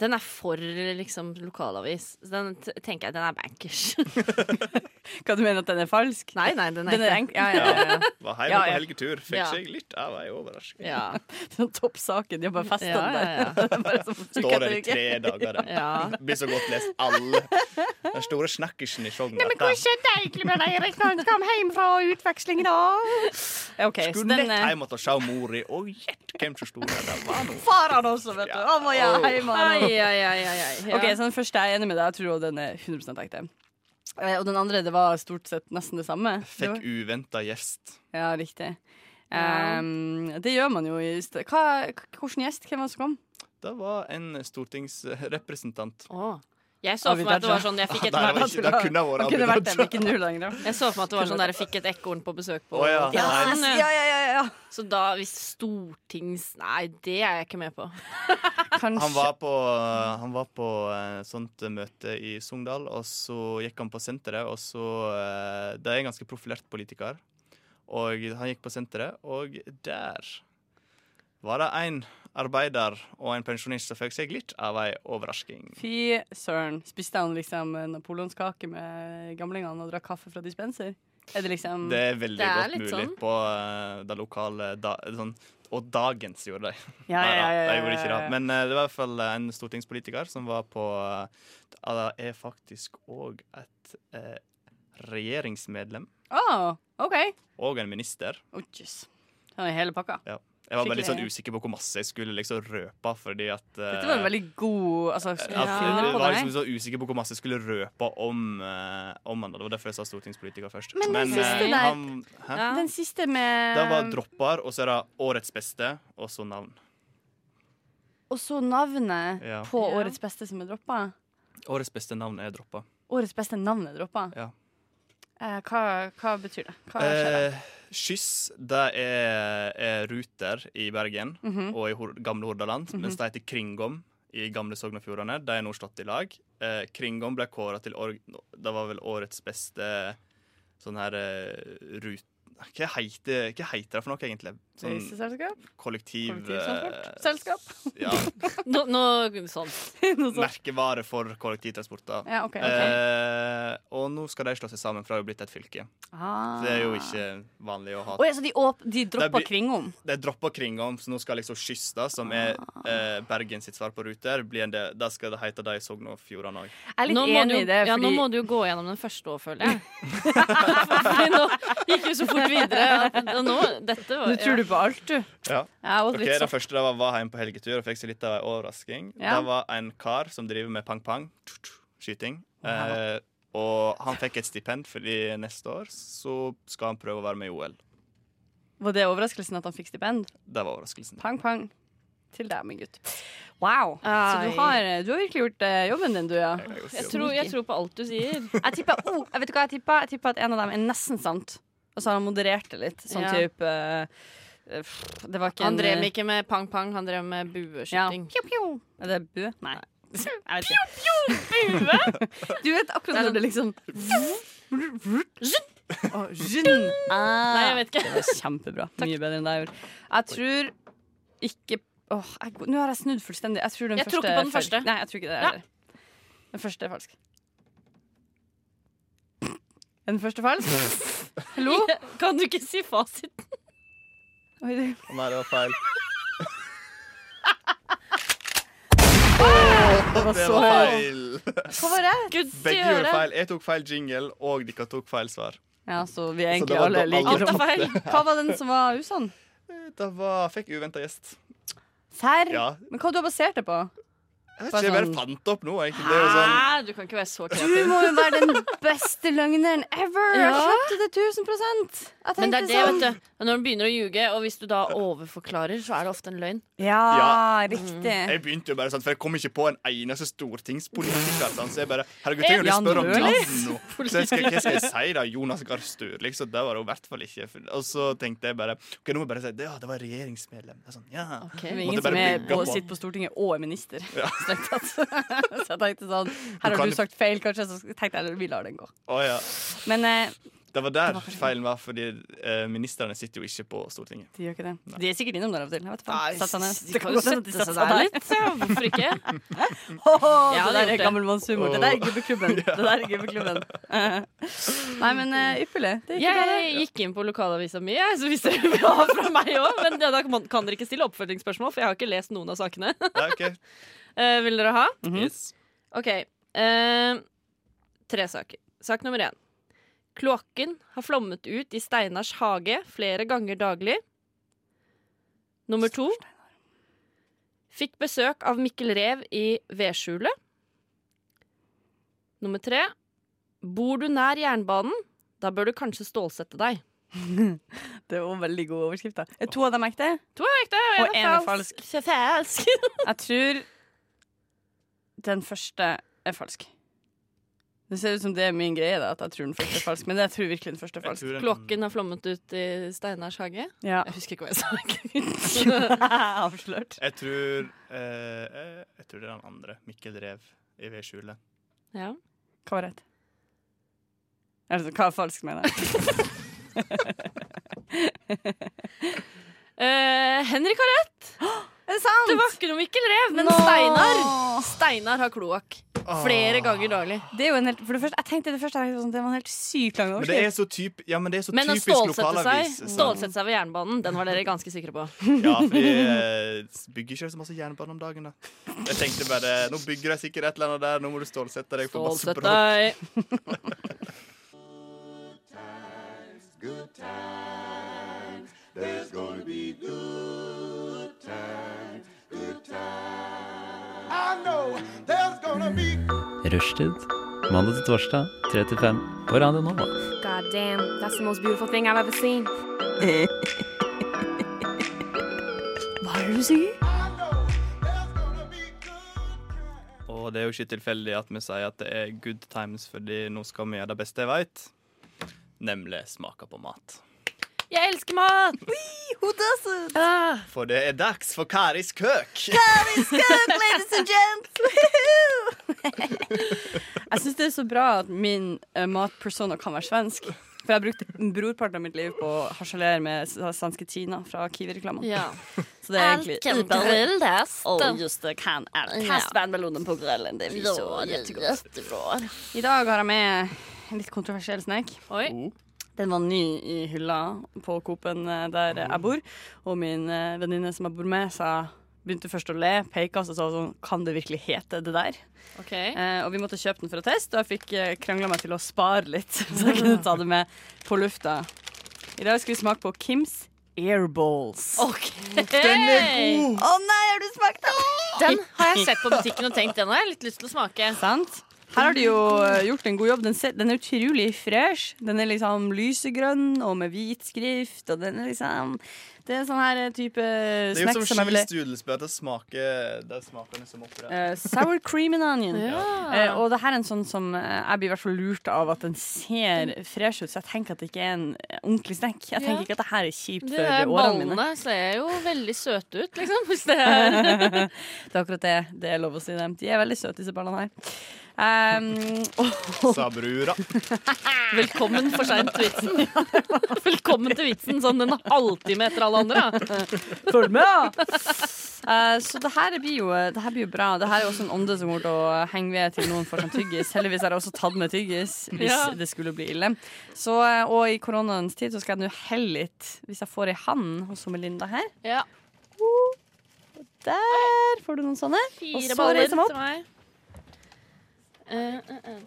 S7: Den er for liksom lokalavis. Så Den t tenker jeg den er bankers.
S6: Hva du mener at den er falsk?
S7: <laughs> Nei,
S6: <laughs>
S7: nei, den er
S6: Den er
S7: ikke
S6: enk- ja, ja, ja, ja.
S5: Var hjemme
S6: Ja,
S5: på
S6: ja.
S5: helgetur. Fikk
S6: Ja.
S5: seg litt av ei overrasking.
S7: <laughs> Ja.
S6: Sånn toppsaken. De har bare festa
S7: Ja, ja,
S6: <laughs>
S7: ja.
S6: den der.
S5: Står der i tre dager. det.
S7: Ja.
S5: Blir så godt lest alle. Den store snakkisen i Sogn.
S6: skjedde egentlig med deg, Erik, når han kom hjem fra utveksling i dag? OK, så
S5: Skulle
S6: den
S5: nett
S7: eh,
S6: er
S5: hjem og se mora, og gjett hvem som sto der. Det var noe.
S6: Far han også, vet du. Han var
S7: Ja.
S6: hjemme. han.
S7: Ai, ai, ai, ai, ai. Ja.
S6: OK, så den første er jeg enig med deg. Jeg tror også den er 100 ekte. Eh, Og den andre, det var stort sett nesten det samme. Det var-
S5: Fikk uventa gjest.
S6: Ja, riktig.
S5: Ja.
S6: Ehm, det gjør man jo i st- Hva, k- Hvilken gjest? Hvem var det som kom?
S5: Det var en stortingsrepresentant.
S7: Jeg så for
S6: Abid
S7: meg at det var
S6: Raja.
S7: sånn jeg fikk et
S5: Ah, nei, det var ikke- det kunne ha vært
S6: Han kunne
S5: Abid
S6: vært det,
S5: Raja.
S6: men ikke nå lenger.
S7: Jeg så for meg at det var sånn der jeg fikk et ekorn på besøk på
S5: Å, ja.
S7: Ja,
S5: Yes,
S7: sånn,
S6: ja, ja, ja, ja.
S7: Så da, hvis stortings... Nei, det er jeg ikke med på.
S5: Han var på, han var på eh, sånt møte i Sogndal, og så gikk han på senteret, og så eh, Det er en ganske profilert politiker, og han gikk på senteret, og der var det en arbeider og en pensjonist som fikk seg litt av ei overrasking.
S6: Fy søren. Spiste han liksom napoleonskake med gamlingene og drakk kaffe fra dispenser? Er det liksom
S5: Det er veldig godt mulig på eh, det lokale da, sånn, Og dagens gjorde de.
S6: Ja, ja, ja, ja,
S5: Neida, de gjorde ikke
S6: ja,
S5: det.
S6: ja, ja.
S5: Men eh, det var i hvert fall en stortingspolitiker som var på eh, Det er faktisk òg et eh, regjeringsmedlem
S6: Å, Ah, OK.
S5: og en minister.
S6: Å, jøss. Han er hele pakka.
S5: Ja. Jeg var bare litt sånn
S6: Skikkelig.
S5: usikker på hvor masse jeg skulle liksom røpe. Fordi at, eh,
S6: Dette var en veldig god altså,
S5: at,
S6: skulle finne
S5: Jeg
S6: på
S5: var
S6: det.
S5: liksom så usikker på hvor masse jeg skulle røpe om, eh, om han. da. Det var derfor jeg sa stortingspolitiker først.
S6: Men den
S5: eh,
S6: siste der-
S5: han- hæ?
S6: Ja. eh, Den siste med
S5: Det var dropper, og så er det årets beste, og så navn.
S6: Og så navnet
S5: Ja.
S6: på
S5: Ja.
S6: årets beste som er droppa.
S5: Årets beste navn er droppa.
S6: Årets beste navn er droppa.
S5: Ja.
S6: Eh, hva, hva betyr det? Hva skjer da?
S5: Eh, Skyss, det er, er Ruter i Bergen
S6: Mhm.
S5: og i Hor gamle Hordaland,
S6: Mhm.
S5: mens det heter Kringom i gamle Sogn og Fjordane. De er nå slått i lag. Eh, Kringom ble kåra til år Det var vel årets beste sånn her eh, rut... Hva heter, hva heter det for noe, egentlig? Sånn
S6: Reiseselskap?
S5: kollektiv... eh,
S6: Kollektivtransport? Altså. Selskap? <laughs>
S5: ja.
S7: Nå, nå sånn.
S5: Merkevare for kollektivtransport. Da.
S7: Ja, ok, ok.
S5: Eh, og nå skal de slå seg sammen, for det har jo blitt et fylke.
S6: Ah.
S5: Så Det er jo ikke vanlig å ha
S6: Å, ja, så de, åp de
S5: Det
S6: droppa
S5: blir-
S6: Kringom?
S5: De dropper Kringom, så nå skal liksom Skyss, da, som er
S6: Ah.
S5: eh, Bergen sitt svar på Ruter, bli en del, der skal det hete de i Sogn og Fjordane òg.
S6: Jeg er litt
S7: Nå må
S6: enig
S7: du,
S6: i det,
S7: Ja, nå
S6: fordi-
S7: må du jo gå gjennom den første òg, føler jeg. <laughs> Fordi nå gikk vi så fort videre. At, og nå, dette var
S6: Nå tror du på alt, du.
S5: Ja.
S6: Jeg åt
S5: Ok,
S6: litt
S5: det
S6: sopp.
S5: første det var, var hjemme på helgetur og fikk seg litt av en overrasking.
S6: Ja.
S5: Det var en kar som driver med pang-pang, skyting. Eh, og han fikk et stipend, fordi neste år så skal han prøve å være med i OL.
S6: Var det overraskelsen at han fikk stipend?
S5: Det var overraskelsen.
S6: Pang, pang. Til deg, min gutt. Wow. Så
S7: Ai.
S6: du har, du har virkelig gjort eh, jobben din, du, ja.
S7: Jeg tror, jeg tror på alt du sier.
S6: Jeg tipper, oh, jeg vet du hva, jeg tipper, jeg tipper at en av dem er nesten sant. Og så har han moderert det litt. Sånn
S7: Ja.
S6: type eh, eh, pff, Det var ikke
S7: Han drev
S6: en eh,
S7: ikke med pang-pang, han drev med bueskyting.
S6: Ja. Er det bue? Nei. Jeg vet ikke. Bue? <laughs> Du vet akkurat når det liksom Å, Zhun. Ah,
S7: Nei, jeg vet ikke.
S6: Det var kjempebra. Mye bedre enn deg gjorde. Jeg tror ikke Åh, jeg, Nå har jeg snudd fullstendig. Jeg tror den
S7: Jeg tror
S6: første
S7: ikke på den
S6: er feil.
S7: første.
S6: Nei, jeg tror ikke det
S7: Ja.
S6: heller. Den første er falsk. Er den første
S5: <laughs>
S6: falsk? Hallo?
S7: <laughs> Kan du ikke si fasiten?
S6: Oi, du.
S5: <laughs>
S6: <laughs>
S5: Nei, det var feil.
S6: Det var
S5: Det
S6: så
S5: var
S6: høyt.
S5: feil.
S6: Hva var rett?
S5: Begge gjorde feil. Jeg tok feil jingle, og dere tok feil svar.
S6: Ja, så
S5: Så
S6: vi er
S5: det
S6: egentlig
S5: var
S6: alle
S5: da
S6: like
S5: alle
S6: dumme.
S5: tapte.
S6: Hva var den som var usann?
S5: Det var Fikk uventa gjest.
S6: Serr?
S5: Ja.
S6: Men hva du har basert det på?
S5: Jeg, vet ikke, jeg bare sånn- fant det opp nå. egentlig. Det er jo sånn
S7: Hæ? Du kan ikke være så
S6: Du
S7: kreativ.
S6: må jo være den beste løgneren ever!
S7: Ja.
S6: Jeg skjønte det 1000 Jeg tenkte
S7: Men det er det,
S6: sånn.
S7: vet du. Når man begynner å ljuge, og hvis du da overforklarer, så er det ofte en løgn.
S5: Ja.
S7: Mm.
S5: Jeg begynte jo bare sånn, for jeg kom ikke på en eneste stortingspolitiker. Sånn, så jeg bare Herregud, trenger du
S7: Ja,
S5: ikke spørre om
S7: nå,
S5: navn
S7: liksom.
S5: nå? Så jeg skal, hva skal jeg si, da? Jonas Gahr Støre? Liksom, det var det jo i hvert fall ikke. For- Og så tenkte jeg bare OK, nå må jeg bare si det, ja, det var regjeringsmedlem. Det er sånn, ja.
S6: Det
S5: Måtte
S6: er ingen
S5: bare
S6: som er
S5: bygge
S6: på,
S5: opp
S6: sitter på Stortinget og er minister. <laughs> strengt tatt. så jeg tenkte sånn Her
S5: kan
S6: har du
S5: jo-
S6: sagt feil, kanskje. Så tenkte jeg vi lar den gå.
S5: Å, ja.
S6: Men eh,
S5: Det var der feilen var, fordi eh, ministrene sitter jo ikke på Stortinget.
S6: de gjør ikke det. De er sikkert innom der av og til. Jeg vet faen. Sett seg ned.
S7: de kan jo
S6: godt hende at de
S7: sette seg
S6: setter
S7: der
S6: <laughs>
S7: litt, ja. Hvorfor ikke?
S6: Ho, ho,
S7: Jeg hadde
S6: det der
S7: gjort
S6: er
S7: det.
S6: gammelmannshumor. Det der er gubbeklubben. Det der er gubbeklubben. Eh, Nei, men eh, ypperlig. Det gikk jo bra,
S7: Jeg
S6: det.
S7: gikk inn på lokalavisa mi, jeg, så hvis dere vil ha fra meg òg. Men det, da kan man- kan dere ikke stille oppfølgingsspørsmål, for jeg har ikke lest noen av sakene. <laughs>
S5: <laughs>
S7: Eh, vil dere ha?
S5: Yes.
S7: OK. eh, tre saker. Sak nummer én. Kloakken har flommet ut i Steinars hage flere ganger daglig. Nummer to. Fikk besøk av Mikkel Rev i vedskjulet. Nummer tre. Bor du nær jernbanen, da bør du kanskje stålsette deg.
S6: Det var veldig gode overskrifter. Er to av dem ekte?
S7: To er ekte, og
S6: Og
S7: én
S6: en
S7: er
S6: er
S7: falsk. Falsk. <laughs>
S6: Jeg tror den første er falsk. Det ser ut som det er min greie, da, at jeg tror den første er falsk. Men jeg tror virkelig den første er falsk.
S7: Klokken har flommet ut i Steinars hage.
S6: Ja.
S7: Jeg husker ikke hva jeg sa.
S6: <laughs> Avslørt.
S5: Jeg tror, eh, jeg, jeg tror det er den andre. Mikkel Rev i vedskjulet.
S7: ja.
S6: Hva var rett? Altså, hva er falsk, mener jeg?
S7: Eh, Henrik har rett!
S6: Er det sant?
S7: Det var ikke noe Mikkel Rev, men
S6: Nå.
S7: Steinar Steinar har kloakk. Flere
S5: Åh.
S7: ganger daglig.
S6: det er jo en helt, for det første, jeg tenkte det første jeg tenkte sånn, det var en helt sykt lang
S5: Ah. Men det er
S6: overskrift.
S5: så, typ, ja, men det er så
S7: Men å
S5: typisk
S7: stålsette
S5: lokalavis.
S7: seg,
S5: sånn.
S7: stålsette seg ved jernbanen, den var dere ganske sikre på.
S5: Ja, for de eh, bygger ikke så masse jernbane om dagen, da. Jeg tenkte bare Nå bygger de sikkert et eller annet der, nå må du stålsette deg. for masse
S7: Stålsett
S5: bråk.
S9: Rushtid. Mandag til torsdag, 3 til 5 på Radio Nova.
S4: God damn, that's the most beautiful thing I've ever seen. Hva er det du sier?
S5: Og det er jo ikke tilfeldig at vi sier at det er good times, fordi nå skal vi gjøre det beste jeg veit, nemlig smake på mat.
S7: Jeg elsker mat!
S6: Who doesn't?
S5: For det er dags for Karis køk!
S6: ladies and gents! <laughs> jeg syns det er så bra at min eh, matpersona kan være svensk. For jeg brukte brorparten av mitt liv på å harselere med s- svenske Tina fra Kiwi-reklamen.
S7: Ja.
S6: <laughs> Så det er egentlig
S7: Alt kan grilles.
S6: Og just det kan alt.
S7: Ja.
S6: Kast vannballonen på grillen. Det blir så
S7: Ja, det er
S6: jättegott. I dag har jeg med en litt kontroversiell snek. Den var ny i hylla på Coop-en eh, der jeg bor. Og min eh, venninne som jeg bor med, sa begynte først å le, peka og sa sånn Kan det virkelig hete det der?
S7: Ok.
S6: Eh, og vi måtte kjøpe den for å teste, og jeg fikk eh, krangla meg til å spare litt. <laughs> Så jeg kunne ta det med på lufta. I dag skal vi smake på Kims Airballs.
S7: Den er god!
S6: Å nei, har du smakt den?
S7: Den har jeg sett på butikken og tenkt, den har jeg litt lyst til å smake.
S6: Sant? Her har de jo eh, gjort en god jobb. Den, ser, den er utrolig fresh. Den er liksom lysegrønn og med hvit skrift. Og den er liksom Det er en sånn her eh, type
S5: Det er
S6: snack
S5: jo som
S6: som jeg ville
S5: cheese doodles, bare at det smaker det smaker liksom oppi der.
S6: Eh, sour cream and onion.
S5: Ja.
S6: Eh, og det her er en sånn som eh, jeg blir i hvert fall lurt av at den ser fresh ut, så jeg tenker at det ikke er en eh, ordentlig snack. Jeg tenker
S7: Ja.
S6: ikke at det her er kjipt
S7: De
S6: for
S7: der
S6: årene mine.
S7: eh, ballene ser jo veldig søte ut, liksom. Hvis det er
S6: det er akkurat det. Det er lov å si dem. De er veldig søte, disse ballene her.
S5: <laughs>
S6: Ehm, og-
S5: Sa brura.
S7: Velkommen for seint til <laughs> vitsen. Velkommen til vitsen sånn en halvtime etter alle andre. da.
S6: Følg med! Eh, så det her blir jo, eh, det her blir jo bra. Det her er også en ånde som kommer til å henge ved til noen får seg en tyggis. Heldigvis har jeg også tatt med tyggis hvis
S7: Ja.
S6: det skulle bli ille. Så, eh, og i koronaens tid så skal jeg nå helle litt, hvis jeg får ei hand hos Melinda her.
S7: Ja.
S6: Der får du noen sånne. Og
S7: Fire
S6: så
S7: baller
S6: reiser jeg meg
S7: til
S6: liksom opp.
S7: meg. Eh,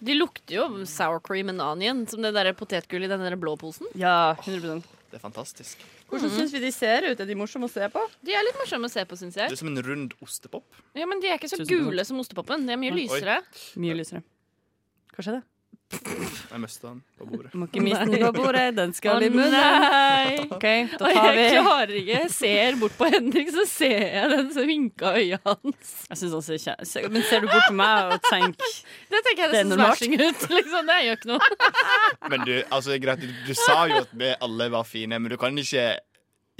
S7: De lukter jo sour cream and onion, som det der potetgullet i den der blå posen.
S6: Ja, 100
S5: Det er fantastisk.
S6: Hvordan syns vi de ser ut? Er de morsomme å se på?
S7: De er litt morsomme å se på, syns
S5: Du er
S7: jeg.
S5: som en rund ostepop.
S7: Ja, Men de er ikke så
S5: Tusen takk.
S7: gule som ostepopen. De er mye
S5: Oi.
S7: lysere.
S6: Mye lysere. Hva skjedde?
S5: Jeg mista den på bordet.
S6: Må ikke miste den på bordet, den skal
S7: Å,
S6: i munnen.
S7: nei.
S6: OK, da
S7: Oi,
S6: tar vi
S7: Jeg klarer ikke. Jeg ser bort på Henrik, så ser jeg den som vinka øya hans.
S6: Jeg synes også ikke se- Men ser du bort på meg og tenk
S7: Det tenker jeg
S6: Det
S7: det ser
S6: er normalt.
S7: smashing ut. Liksom. Det gjør ikke noe.
S5: <laughs> Men du, altså, greit, du, du sa jo at vi alle var fine, men du kan ikke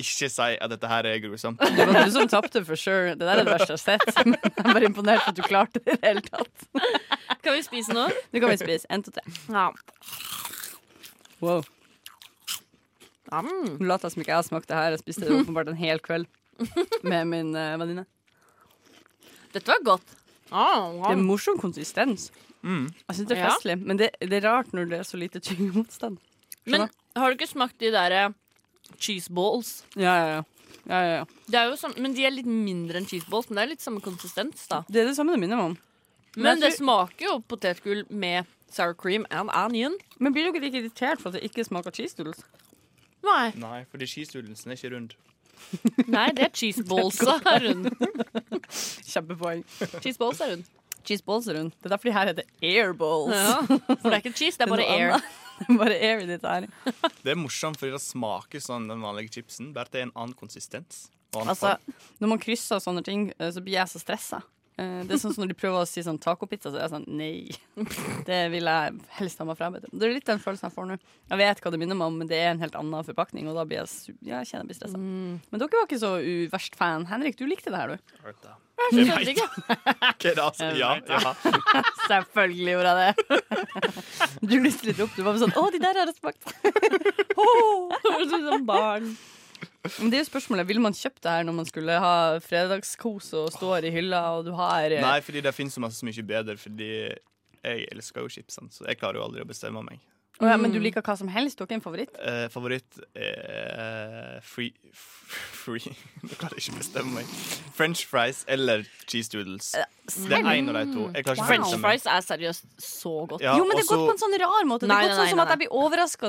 S5: ikke si at dette her er grusomt.
S6: Det var du som tapte, for sure. Det der er det verste jeg har <laughs> sett. Men jeg er bare imponert for at du klarte det i det hele tatt.
S7: Kan vi spise nå?
S6: Nå kan vi spise. En, to, tre.
S7: Ja.
S6: Wow.
S7: Mm.
S6: Nå later jeg som ikke jeg har smakt det her. Jeg spiste det åpenbart en hel kveld med min eh, venninne.
S7: Dette var godt. Ah,
S6: Det er morsom konsistens. Jeg syns det er
S7: Ja.
S6: festlig, men det, det er rart når det er så lite tyngdemotstand.
S7: Men har du ikke smakt de der eh, cheese balls?
S6: Ja, ja, ja. ja, ja, ja.
S7: Det er jo som, men De er litt mindre enn cheese balls, men det er litt samme konsistens. da
S6: Det er det samme det minner meg om.
S7: Men
S6: jeg
S7: det
S6: tror-
S7: smaker jo potetgull med sour cream and onion.
S6: Men blir du ikke like irritert for at det ikke smaker cheese doodles?
S7: Nei,
S5: <laughs> Nei, fordi skistudelsen er ikke rund.
S7: Nei det er cheese balls, er hun.
S6: Kjempepoeng.
S7: Cheese balls er hun.
S6: Cheese balls er rundt. Det er derfor de her heter air balls.
S7: Ja, for det er ikke cheese, det er bare
S6: noe
S7: air.
S6: annet. Det er <laughs> bare air i dette her.
S5: Det er morsomt, fordi det smaker sånn den vanlige chipsen, bare at det er en annen konsistens. og annen
S6: Altså,
S5: form.
S6: når man krysser sånne ting, eh, så blir jeg så stressa. Eh, Det er sånn som når de prøver å si sånn tacopizza, så er jeg sånn <laughs> nei. Det vil jeg helst ha meg frabedt. Det er litt den følelsen jeg får nå. Jeg vet hva det minner meg om, men det er en helt annen forpakning, og da blir jeg, su- ja, jeg kjenner jeg blir stressa. Men dere var ikke så u verst fan. Henrik, du likte det her, du.
S5: Jeg vet ikke. Hva er det, altså? Ja, ja.
S6: Selvfølgelig gjorde jeg det. <laughs> Du lyste litt opp. Du var sånn 'Å, de der har jeg <laughs> smakt'. Du er sånn barn. Men det er jo spørsmålet, Ville man kjøpt det her når man skulle ha fredagskos og står i hylla, og du har eh,
S5: Nei, fordi det finnes jo masse så mye bedre, fordi jeg elsker jo chipsene, så jeg klarer jo aldri å bestemme meg.
S6: Å ja, Men du liker hva som helst? Du har ikke en favoritt?
S5: Eh, favoritt eh, free, free <laughs> Jeg klarer ikke å bestemme meg. French fries eller cheese doodles. Det er én av de to. Jeg klarer ikke å
S7: Eh, French
S5: bestemme meg.
S7: fries er seriøst så godt.
S5: Ja,
S6: jo, men det er
S5: også-
S6: godt på en sånn rar måte.
S7: Nei,
S6: det er
S7: nei,
S6: godt sånn som
S7: nei,
S6: at jeg blir overraska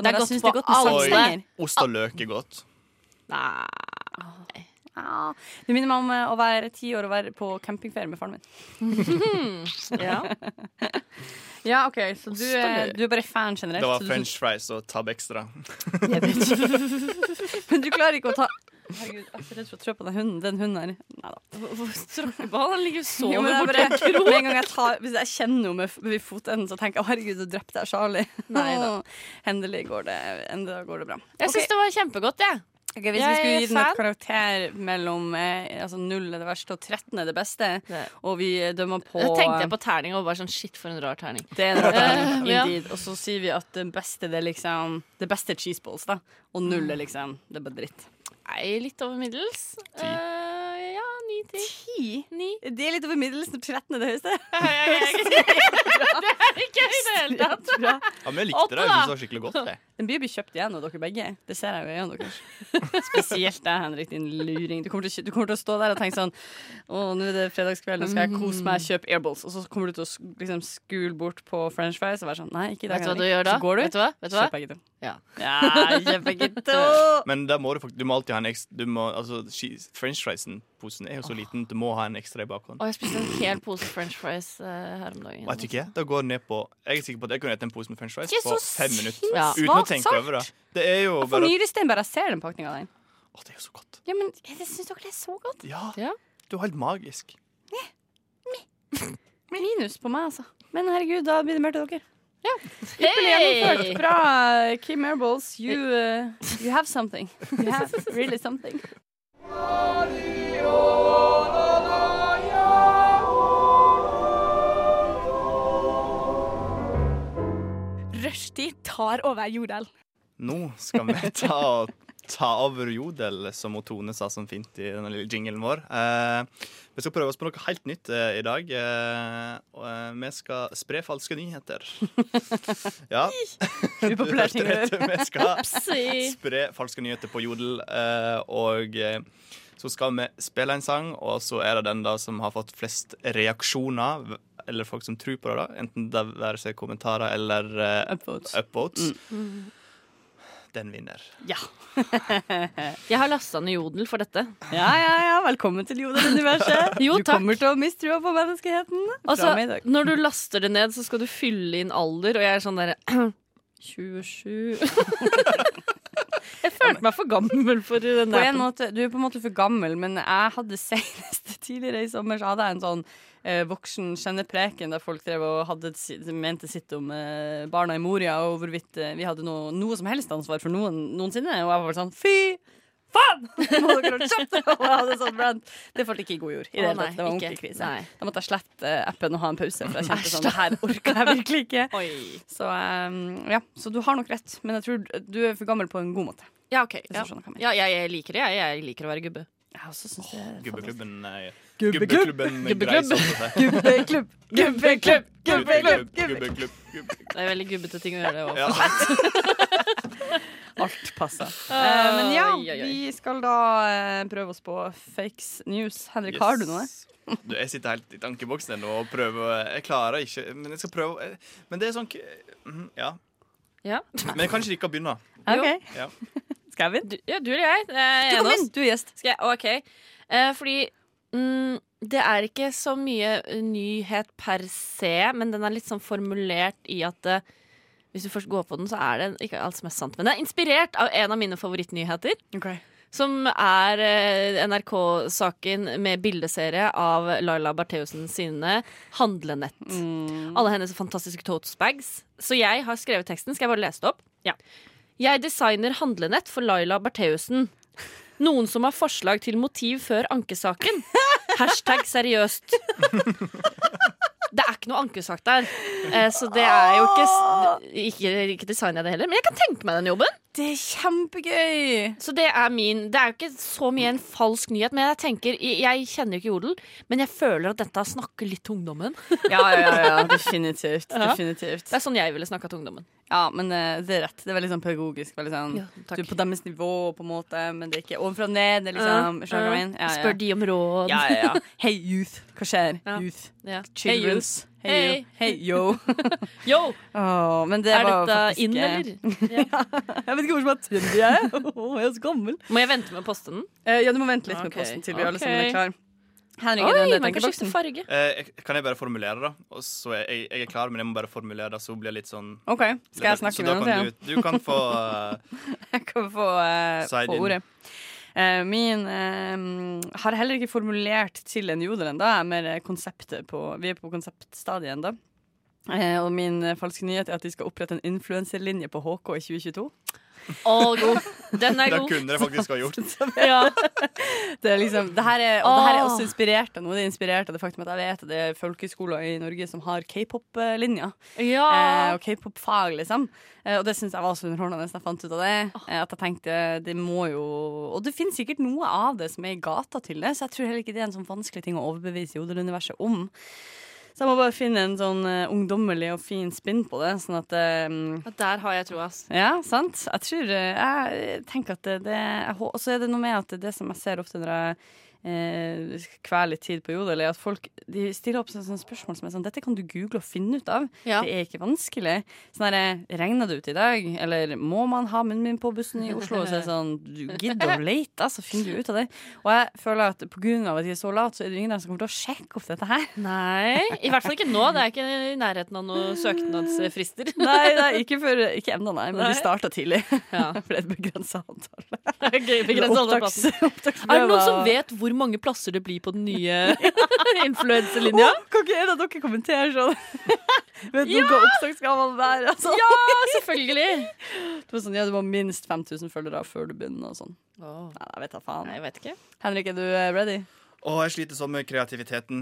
S7: Det er
S6: når jeg
S7: godt
S6: syns det er
S7: på
S6: godt med
S7: alle.
S6: saltstenger.
S5: Ost og løk er godt.
S7: Nei.
S6: Ja, det minner meg om eh, å være ti år og være på campingferie med faren <laughs> min.
S7: ja.
S6: ja, OK, så
S5: Ost
S6: du
S5: og
S6: er,
S5: løk.
S6: du er bare fan generelt?
S5: Det var
S6: så du syns-
S5: french fries og tab extra.
S6: Men du klarer ikke å ta Herregud, jeg er så redd for å trå på den hunden. Den hunden her. Nei da.
S7: Tråkkeball, han ligger og
S6: Jo,
S7: sover
S6: men jeg
S7: borti en
S6: bare-
S7: krok.
S6: Med en gang jeg tar Hvis jeg kjenner henne med, f- ved fotenden, så tenker jeg 'Å, herregud, så drepte jeg Charlie'.
S7: Neida.
S6: <laughs> Endelig går det, endelig går det bra.
S7: Jeg syns det var kjempegodt, jeg.
S6: Ok, hvis
S7: Jeg
S6: vi skulle
S7: er
S6: gi den et
S7: fan.
S6: karakter mellom eh, altså 0 er det verste og 13 er det beste, og vi eh, dømmer på
S7: Da tenkte jeg på terning og var sånn shit, for en rar terning.
S6: det er en rar <laughs> terning,
S7: Eh, ja.
S6: indeed. Og så sier vi at det beste det er liksom Det beste er cheeseballs, da. Og null er liksom Det er bare dritt.
S7: Nei, litt over middels. Eh, ja, ni-ti. Ni.
S6: Det er litt over middels når 13 er det høyeste. <laughs>
S7: <laughs> Det er ikke i det hele tatt.
S5: Ja, men jeg likte
S6: Åtte,
S5: det. Jeg
S6: da.
S5: synes det var skikkelig godt. Jeg.
S6: Den blir jo blitt kjøpt igjen av dere begge. Det ser jeg jo i øynene
S7: <laughs>
S6: deres. Spesielt deg, Henrik, din luring. Du kommer, til, å kjø- du kommer til å stå der og tenke sånn Å, nå er det fredagskveld, nå skal jeg kose
S7: Mm.
S6: meg, kjøpe airballs. Og så kommer du til å sk- liksom, skule bort på french fries og være sånn Nei, ikke i dag,
S7: Vet du hva du
S6: Henrik.
S7: gjør da?
S6: Så går du.
S7: Vet du hva? Vet du hva?
S6: Kjøp begge to.
S7: Ja.
S6: Ja, kjøp begge
S7: <laughs>
S6: to.
S5: Men da må du, fakt- du må alltid ha en ekstra du må, altså, cheese- French friesen-posen er jo så liten, du må ha en ekstra i bakhånd.
S7: Og jeg spiste en hel pose french fries eh, her om dagen.
S5: Og jeg tror ikke jeg. Det går ned på Jeg er sikker på at jeg kunne spist en pose med french fries
S7: Det er
S5: på
S7: så
S5: fem minutter.
S7: Ja.
S5: Uten å
S6: svakt
S5: tenke over det. Det er jo
S6: Jeg får
S5: bare at
S6: nyrestein bare jeg ser den pakninga der.
S5: Å, det er jo så godt.
S6: Ja, men jeg syns dere det er så godt.
S5: Ja,
S7: Ja.
S5: du er helt magisk.
S6: Minus på meg, altså. Men herregud, da blir det mørkt til dere. Ypperlig gjennomført.
S7: Hey!
S6: Bra, Kim Airballs. You, uh, you have something. You have really
S7: <laughs>
S6: something.
S13: Rushtid tar over Jordal.
S5: Nå skal vi ta, ta over Jodel, som hun Tone sa som fint i denne lille jinglen vår. Eh, vi skal prøve oss på noe helt nytt eh, i dag. Eh, og, eh, vi skal spre falske nyheter. Ja.
S6: Upopulær ting å
S5: Du hørte
S6: gjøre.
S5: det. Vi skal
S6: Upsi.
S5: spre falske nyheter på Jodel. eh, og eh, så skal vi spille en sang, og så er det den da som har fått flest reaksjoner eller folk som tror på det, da. enten det være seg kommentarer eller eh,
S6: upvotes,
S5: den vinner.
S6: Ja.
S7: Jeg har lasta ned Jodel for dette.
S6: Ja, ja, ja. Velkommen til Jodel-universet.
S7: Jo,
S6: Du kommer til å miste trua på menneskeheten. fra
S7: Altså,
S6: meg i dag.
S7: når du laster det ned, så skal du fylle inn alder, og jeg er sånn derre <clears throat> 27 <laughs> Jeg følte meg for gammel for den
S6: På
S7: der.
S6: en måte, du er på en måte for gammel, men jeg hadde senest <laughs> tidligere i sommer så hadde jeg en sånn eh, voksen kjennepreken der folk drev og hadde, et si- mente sitt om eh, barna i Moria og hvorvidt eh, vi hadde noe, noe som helst ansvar for noen noensinne. Og jeg var bare sånn fy faen! <laughs> Må dere holde kjeft!
S7: <laughs>
S6: Og jeg hadde sånn brand. Det falt ikke i god jord. I det,
S7: Å,
S6: hele
S7: nei,
S6: tatt. det var
S7: ikke.
S6: ordentlig krise.
S7: Nei.
S6: Da måtte jeg slette eh, appen og ha en pause, for jeg kjente
S7: Æsj,
S6: sånn
S7: da.
S6: det her orka jeg virkelig ikke.
S7: <laughs>
S6: Så, eh, ja, så du har nok rett, men jeg tror du er for gammel på en god måte.
S7: Ja, ok.
S6: Hvis
S7: Ja.
S6: du skjønner hva jeg mener.
S7: Ja, jeg, jeg liker det. Jeg, jeg liker å være gubbe.
S6: Jeg også syns det
S5: Gubbeklubben eh,
S6: Gubbeklubb.
S5: Gubbeklubben
S7: Gubbeklubb.
S5: greier sånn sett.
S6: Gubbeklubb, gubbeklubb, gubbeklubb,
S5: gubbeklubb.
S7: Det er veldig gubbete ting å gjøre, det
S5: Ja.
S6: Alt passer.
S7: Eh,
S6: men ja,
S7: oi, oi, oi.
S6: vi skal da eh, prøve oss på fakes news. Henrik, har du noe?
S5: Du, jeg sitter helt i tankeboksen ennå og prøver. Jeg klarer ikke, men jeg skal prøve. Eh, Men det er sånn k- mhm, Ja.
S7: Ja.
S5: Men jeg kan ikke like å begynne.
S7: Ok.
S5: Ja.
S6: Skal jeg vinne?
S7: Du, ja, du eller jeg.
S6: Du kan vinne,
S7: du er gjest. Skal jeg? OK. Eh, fordi mm, det er ikke så mye eh, nyhet per se, men den er litt sånn formulert i at eh, hvis du først går på den, så er det ikke alt som er sant. Men det er inspirert av en av mine favorittnyheter. Som er eh, NRK-saken med bildeserie av Laila Bertheussen sine handlenett. Alle hennes fantastiske totesbags. Så jeg har skrevet teksten. Skal jeg bare lese det opp? Ja. Jeg designer handlenett for Laila Bertheussen. Noen som har forslag til motiv før ankesaken? Hashtag seriøst. Det er ikke noe ankesak der, eh, så det er jo ikke s- Ikke, ikke designer jeg det heller, men jeg kan tenke meg den jobben.
S6: Det er kjempegøy!
S7: Så det er min Det er jo ikke så mye en falsk nyhet, men jeg tenker Jeg kjenner jo ikke Jodel, men jeg føler at dette snakker litt til ungdommen.
S6: <laughs> Ja, ja, ja, ja definitivt.
S7: Ja.
S6: definitivt.
S7: Det er sånn jeg ville snakka til ungdommen.
S6: Ja, men eh, det er rett. Det er veldig sånn pedagogisk. Veldig sånn,
S7: Ja, takk.
S6: du er på deres nivå, på en måte, men det er ikke ovenfra og ned. Det er liksom,
S7: Ja,
S6: skjønner du hva jeg
S7: ja.
S6: mener? Ja, ja.
S7: Spør de om råd.
S6: Ja, ja, ja. Hey youth, hva skjer? Youth.
S7: <laughs>
S6: <laughs>
S7: Ja.
S6: Childrens.
S7: Hey, youth.
S6: Hey, yo.
S7: Yo!
S6: Åh, men det
S7: er
S6: var
S7: dette
S6: faktisk,
S7: inn,
S6: eh,
S7: eller?
S6: <laughs> Jeg vet ikke hvor som er trendy jeg
S7: <laughs>
S6: er. Åh, jeg er så gammel.
S7: Må jeg vente med å poste den?
S6: Eh, ja, du må vente litt med
S7: Ok,
S6: posten til vi alle
S7: ok.
S6: sammen er klar. Henrik, er
S7: Oi,
S6: du en
S7: man kan skifte
S6: tenkeboksen?
S7: farge.
S5: Eh, jeg- kan jeg bare formulere, da? Og så er jeg, jeg er klar, men jeg må bare formulere det, så blir det litt sånn
S6: OK, skal jeg
S5: Så
S6: snakke
S5: da
S6: med
S5: kan
S6: noen til?
S5: Du, du kan få eh,
S6: <laughs> Jeg kan få, eh,
S5: Side
S6: få
S5: in.
S6: ordet. Eh, min eh, har heller ikke formulert til en jodel ennå. Jeg er mer eh, konseptet på Vi er på konseptstadiet ennå. Eh, og min eh, falske nyhet er at de skal opprette en influenserlinje på HK i 2022.
S7: Å, god. Den er
S5: Det
S7: god.
S5: kunne dere faktisk ha gjort.
S6: <laughs>
S7: Ja.
S6: Det er liksom, det her er, og det her er også inspirert av noe. Det er inspirert av det faktum at jeg vet at det er folkeskoler i Norge som har k-pop-linja. Eh,
S7: Ja.
S6: og k-pop-fag, liksom. Eh, og det syns jeg var så underholdende da jeg fant ut av det. Eh, at jeg tenkte, det må jo Og det finnes sikkert noe av det som er i gata til det, så jeg tror heller ikke det er en sånn vanskelig ting å overbevise Jodel-universet om. Så jeg må bare finne en sånn eh, ungdommelig og fin spinn på det, sånn at eh,
S7: Ja, Der har jeg troa, ass.
S6: ja, sant. Jeg tror eh, Jeg tenker at det, det jeg hå- Og så er det noe med at det som jeg ser ofte når jeg eh, kveler litt tid på Jodel, er at folk de stiller opp sånne, sånne spørsmål som er sånn Dette kan du google og finne ut av.
S7: Ja.
S6: Det er ikke vanskelig. Sånn herre Regna det ut i dag? Eller må man ha munnen min på bussen i Oslo? Og så er det sånn Du gidder å leite, så finner du ut av det. Og jeg føler at på grunn av at jeg er så lat, så er det jo ingen der som kommer til å sjekke opp dette
S7: <laughs>
S6: her.
S7: Nei, i hvert fall ikke nå. Det er ikke i nærheten av noen søknadsfrister.
S6: Nei, nei <laughs> ikke, for, ikke ennå, nei, men
S7: Nei.
S6: de starta tidlig.
S7: <laughs>
S6: <laughs>
S7: Ja.
S6: For det er et begrensa antall.
S7: Gøy, begrenset antall
S6: Opptaks-
S7: plasser. <laughs>
S6: opptaksprøver.
S7: Er det noen som vet hvor mange plasser det blir på den nye <laughs> influenselinja?
S6: Åh, Kan ikke en av dere kommentere sånn? <laughs> Vet du
S7: Ja!
S6: hva opptaksgavene der altså?
S7: Ja, selvfølgelig!
S6: <laughs> Det var sånn, ja, du må ha minst 5000 følgere før du begynner og sånn. Nei, jeg vet da faen.
S7: Nei, jeg vet ikke.
S6: Henrik, er du eh, ready?
S5: Å, jeg sliter sånn med kreativiteten.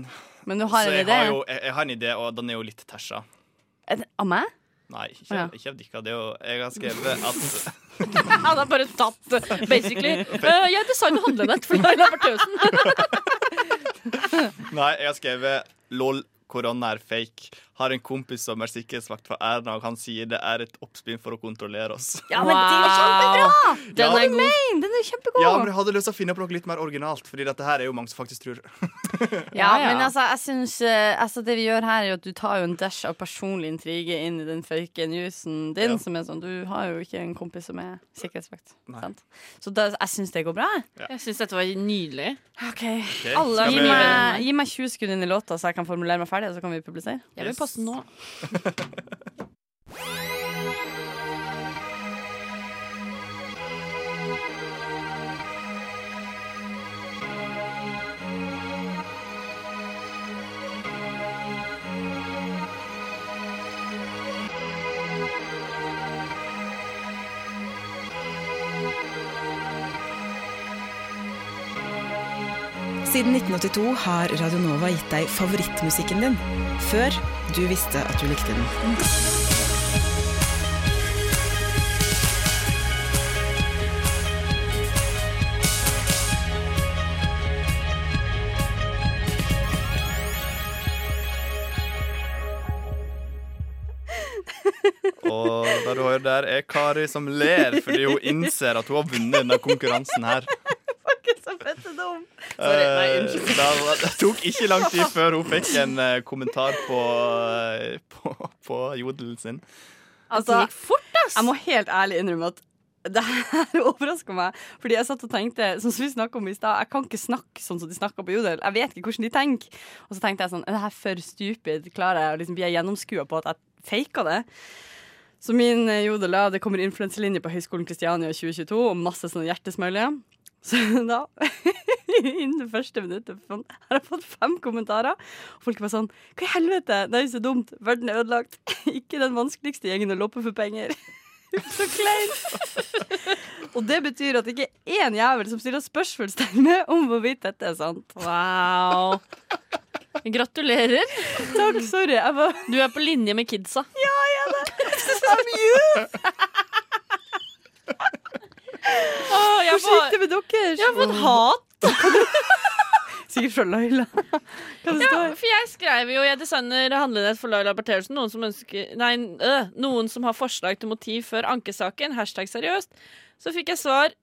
S6: Men du har
S5: så
S6: en
S5: jeg
S6: idé?
S5: Har jo, jeg, jeg har en idé, og den er jo litt tæsja.
S6: Er det- Av meg?
S5: Nei, ikke,
S6: Å, ja.
S5: ikke av dere. Det er jo Jeg har skrevet at
S7: Han har bare tatt det, basically.
S6: <laughs>
S7: Eh, jeg designer handlenett for Laila Bertheussen.
S5: Nei, jeg har skrevet LOL korona er fake. Har en kompis som er sikkerhetsvakt for Erna, og han sier det er et oppspinn for å kontrollere oss.
S6: Ja, men det er kjempebra!
S5: Ja.
S6: Den er god. Den er kjempegod.
S5: Ja, men jeg hadde lyst til å finne på noe litt mer originalt, Fordi dette her er jo mange som faktisk tror.
S6: Ja, men altså, jeg synes, eh, altså Det vi gjør her, er jo at du tar jo en dash av personlig intrige inn i den fake newsen din. Som er sånn, Du har jo ikke en kompis som er sikkerhetsvakt. Sant? Så da, jeg syns det går bra. jeg.
S7: Jeg syns dette var nydelig.
S6: OK.
S7: Ok,
S6: Alle,
S7: skal
S6: gi,
S7: vi-
S6: meg, gi meg 20 sekunder inn i låta, så jeg kan formulere meg ferdig, og så kan vi publisere.
S7: Jeg vil passe
S6: <laughs>
S7: nå.
S14: Siden 1982 har Radio Nova gitt deg favorittmusikken din, før du visste at du likte den.
S5: Og det du hører der, er Kari som ler fordi hun innser at hun har vunnet denne konkurransen her.
S6: Så fette dum.
S5: Sorry, nei, unnskyld. Det, var- det tok ikke lang tid før hun fikk en eh, kommentar på, eh, på, på jodelen sin.
S6: Altså, det gikk fort, ass! Jeg må helt ærlig innrømme at det her <laughs> overraska meg. Fordi jeg satt og tenkte, sånn som vi snakket om i stad, jeg kan ikke snakke sånn som de snakker på Jodel. Jeg vet ikke hvordan de tenker. Og så tenkte jeg sånn, er det her for stupid? Klarer jeg å liksom bli gjennomskua på at jeg faka det? Så min eh, Jodel, da, det kommer influenselinje på Høgskolen Kristiania 2022, og masse sånne hjertesmileyer. Så da, <laughs> innen det første minuttet, sånn, har jeg fått fem kommentarer. Og folk er bare sånn Hva i helvete? Det er jo så dumt. Verden er ødelagt. <laughs> Ikke den vanskeligste gjengen å loppe for penger. <laughs> Uff, så kleint. Og det betyr at det ikke er én jævel som stiller spørsmålstegn ved om hvorvidt dette er sant. Wow.
S7: Gratulerer.
S6: Takk, sorry.
S7: Du er på linje med kidsa.
S6: Ja, jeg er det. I'm youth. Hvordan gikk det med dere?
S7: Jeg har fått hat.
S6: <laughs> Sikkert fra Laila. Hva det
S7: Ja,
S6: står?
S7: for jeg skrev jo Jeg designer handlenett for Laila Bertersen. Noen som ønsker Nei, øh, noen som har forslag til motiv før ankesaken. Hashtag seriøst. Så fikk jeg svar.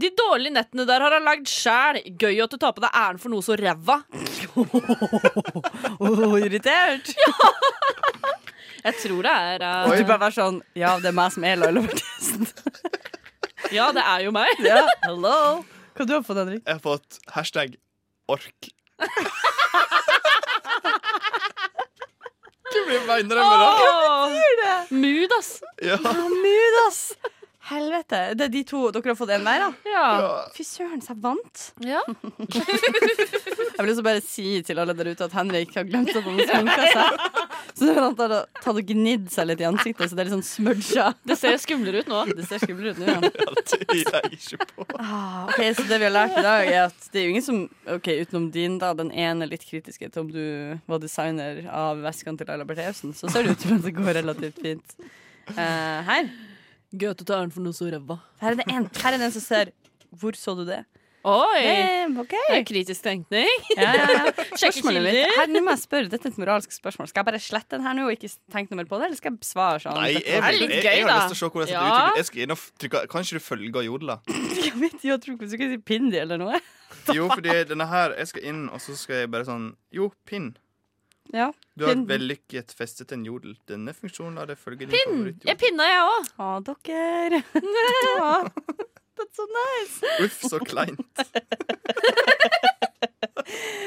S7: De dårlige nettene der har han lagd sjæl. Gøy at du tar på deg æren for noe så ræva.
S6: Åh, irritert.
S7: Jeg tror det er eh,
S6: Og du bare var sånn Ja, det er meg som er Laila Berthesen.
S7: Ja, det er jo meg.
S6: ja, hello. Hva du har du fått, Henrik?
S5: Jeg har fått hashtag ork. Hva blir mener du med det?
S7: Mood, ass.
S5: Ja.
S6: mood, ass. Helvete. Det er de to. Dere har fått en hver, da?
S7: Ja.
S6: Fy søren, så jeg vant.
S7: Ja.
S6: Jeg vil også bare si til alle der ute at Henrik har glemt at han <laughs> har sminka seg. Så nå har han tatt og- tatt og gnidd seg litt i ansiktet, så det er litt sånn smudja.
S7: Det ser skumlere ut nå.
S6: Det ser skumlere ut nå, ja.
S5: Det gir jeg ikke på.
S6: Ah, ok, Så det vi har lært i dag, er at det er jo ingen som Ok, utenom din, da. Den ene litt kritiske til om du var designer av veskene til Laila Bertheussen, så ser det ut til at det går relativt fint. Eh, her.
S7: Gøy at du tar den for noe så ræva.
S6: Her er det en, her er det en som ser Hvor så du det?
S7: Oi!
S6: Damn, ok.
S7: Det er kritisk tenkning.
S6: Ja, ja, ja.
S7: <laughs> Sjekke
S6: Spørsmålet mitt
S7: kilder.
S6: her, Nå må jeg spørre, dette er et moralsk spørsmål. Skal jeg bare slette den her nå og ikke tenke noe mer på det, eller skal jeg svare sånn?
S5: Nei, jeg,
S6: Dette var-
S5: jeg, jeg, jeg har lyst til å se hvordan dette utvikler Jeg skal inn og f- trykke Kanskje du følger jodla?
S6: Jeg vet jo, jeg tror ikke du skal si pindi eller noe.
S5: Jo, fordi denne her Jeg skal inn, og så skal jeg bare sånn Jo, pinn.
S6: Ja.
S5: Du har
S6: pinn.
S5: vellykket festet en jodel. Denne funksjonen lar deg følge din
S7: Pinn!
S5: favoritt.
S7: Jeg pinna, jeg òg.
S6: Å,
S7: <laughs>
S6: dere. Å, That's so nice.
S5: Uff, så kleint.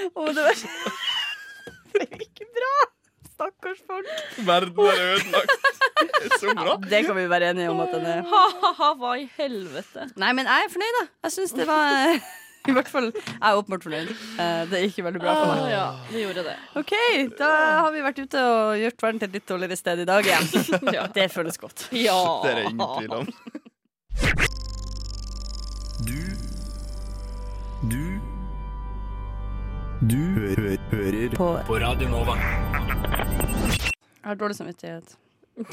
S6: Å, det
S7: <laughs>
S6: var Det er ikke bra. Stakkars folk.
S5: Verden er ødelagt. Det er Så bra.
S6: Det kan vi være enige om at den er.
S7: Ha-ha-ha, hva i helvete.
S6: Nei, men jeg er fornøyd, da. Jeg syns det var <laughs> I hvert fall Jeg er åpenbart fornøyd. Eh, Det gikk jo veldig bra for meg.
S7: Å, Ah, ja, det gjorde det.
S6: OK, da har vi vært ute og gjort verden til et litt dårligere sted i dag igjen.
S7: <laughs>
S6: Det føles godt.
S7: Ja.
S5: Det er det ingen tvil om.
S10: Du Du hø hø hører på. på Radio Nova.
S6: Jeg har dårlig samvittighet. Jeg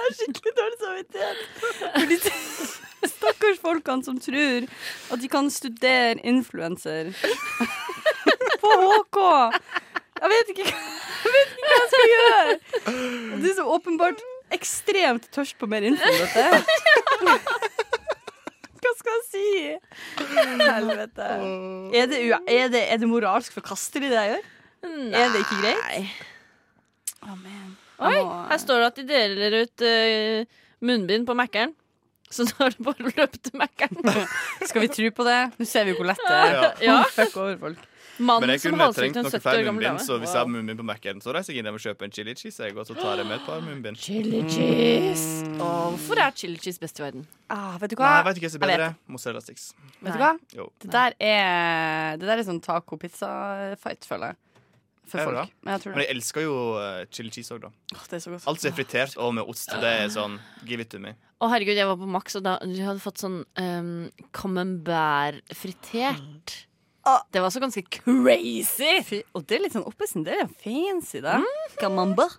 S6: har skikkelig dårlig samvittighet. Fordi de stakkars folkene som tror at de kan studere influenser. <laughs> på HK! Jeg vet ikke, jeg vet ikke hva jeg skal gjøre! Og Du som åpenbart ekstremt tørst på mer info om dette. Hva skal jeg si? Helvete. Er det, u- er det, er det moralsk forkastelig, det jeg gjør? Er det ikke greit?
S7: Oi, her står det at de deler ut eh, munnbind på Mækkern. Så da er det bare å løpe til
S5: <laughs>
S7: Mækkern.
S6: Skal vi tro på det? Nå ser vi jo hvor lett det er.
S7: Ja. Ja.
S6: Fuck over folk.
S5: Men jeg kunne trengt noe flere munnbind, så hvis jeg har
S6: Wow.
S5: munnbind på Mac-en, så reiser jeg inn og kjøper en chili cheese, jeg, og så tar jeg med et par munnbind.
S7: Chili cheese. Å, hvorfor er chili cheese best i verden?
S6: Mm. Ah, vet du hva?
S5: Nei, jeg vet ikke hva som er
S6: Jeg
S5: bedre. Mozzarella sticks.
S6: Vet du hva?
S5: Jo.
S6: Det der er, det der er sånn taco-pizza-fight, føler jeg. For
S5: Er det
S6: folk.
S5: bra?
S6: Men jeg tror
S5: Men
S6: det.
S5: jeg elsker jo eh, chili cheese òg, da.
S6: det er så godt.
S5: Alt som er fritert og med ost, det er sånn give it to me.
S7: Å, herregud, jeg var på Max, og da de hadde fått sånn um, camembert
S6: Mm.
S7: fritert. Ah. Det var så ganske crazy! Mm.
S6: Fy, og det er litt sånn oppesen. Det er fancy, da. Camembert.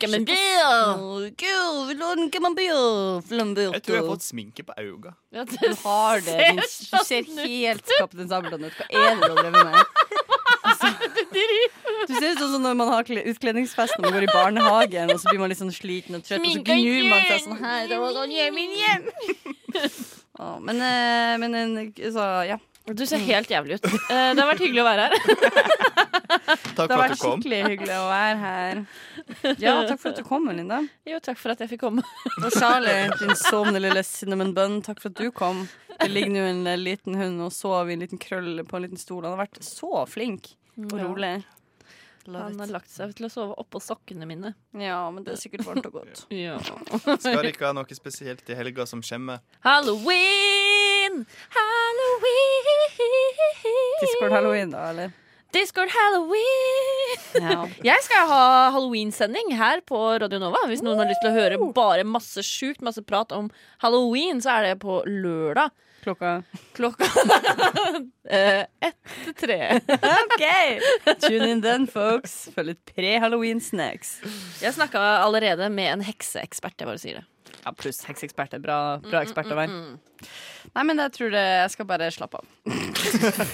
S7: Camembert.
S6: Gud, vi lå den camembert. Flambert.
S5: Jeg tror jeg har fått sminke på øynene.
S7: Ja,
S6: <laughs> Du har det. din- Du
S7: ser
S6: ser
S7: sånn ut.
S6: helt Kaptein Sabeltann ut. Hva er det du har drevet med? Altså, du ser ut sånn som når man har kle- utkledningsfest når man går i barnehagen, og så blir man litt sånn sliten og trøtt, og så
S7: Sminke
S6: gnur man seg
S7: igjen.
S6: sånn her. Det var sånn hjem, inn hjem. Å, men, eh, men en- så, ja.
S7: Du ser helt jævlig ut. Eh, det har vært hyggelig å være her. <laughs>
S5: Takk for
S6: det har
S5: at
S6: vært
S5: du kom.
S6: skikkelig hyggelig å være her. Ja, takk for at du kom, Linda.
S7: Jo, takk for at jeg fikk
S6: <laughs>
S7: komme.
S6: Og Charlie, din sovende lille cinnamon bun, takk for at du kom. Det ligger nå en eh, liten hund og sover i en liten krøll på en liten stol. Han har vært så flink og
S7: Mm, Ja.
S6: rolig.
S7: Han har lagt seg til å sove oppå sokkene mine.
S6: Ja, men det er sikkert varmt og godt.
S7: Ja.
S5: Skal dere ikke ha noe spesielt i helga som kommer?
S7: Halloween! Halloween!
S6: Discord halloween, da, eller?
S7: Discord halloween!
S6: Ja.
S7: Jeg skal ha Halloween-sending her på Radio Nova. Hvis noen har lyst til å høre bare masse sjukt, masse prat om halloween, så er det på lørdag.
S6: Klokka
S7: Klokka <laughs> eh, ett til tre.
S6: OK! Tune in then, folks. Følg litt pre-halloween snacks.
S7: Jeg snakka allerede med en hekseekspert. Jeg bare sier det.
S6: Ja, pluss hekseekspert er bra, bra ekspert å være.
S7: Mm, mm, mm.
S6: Nei, men jeg tror det, jeg skal bare slappe av.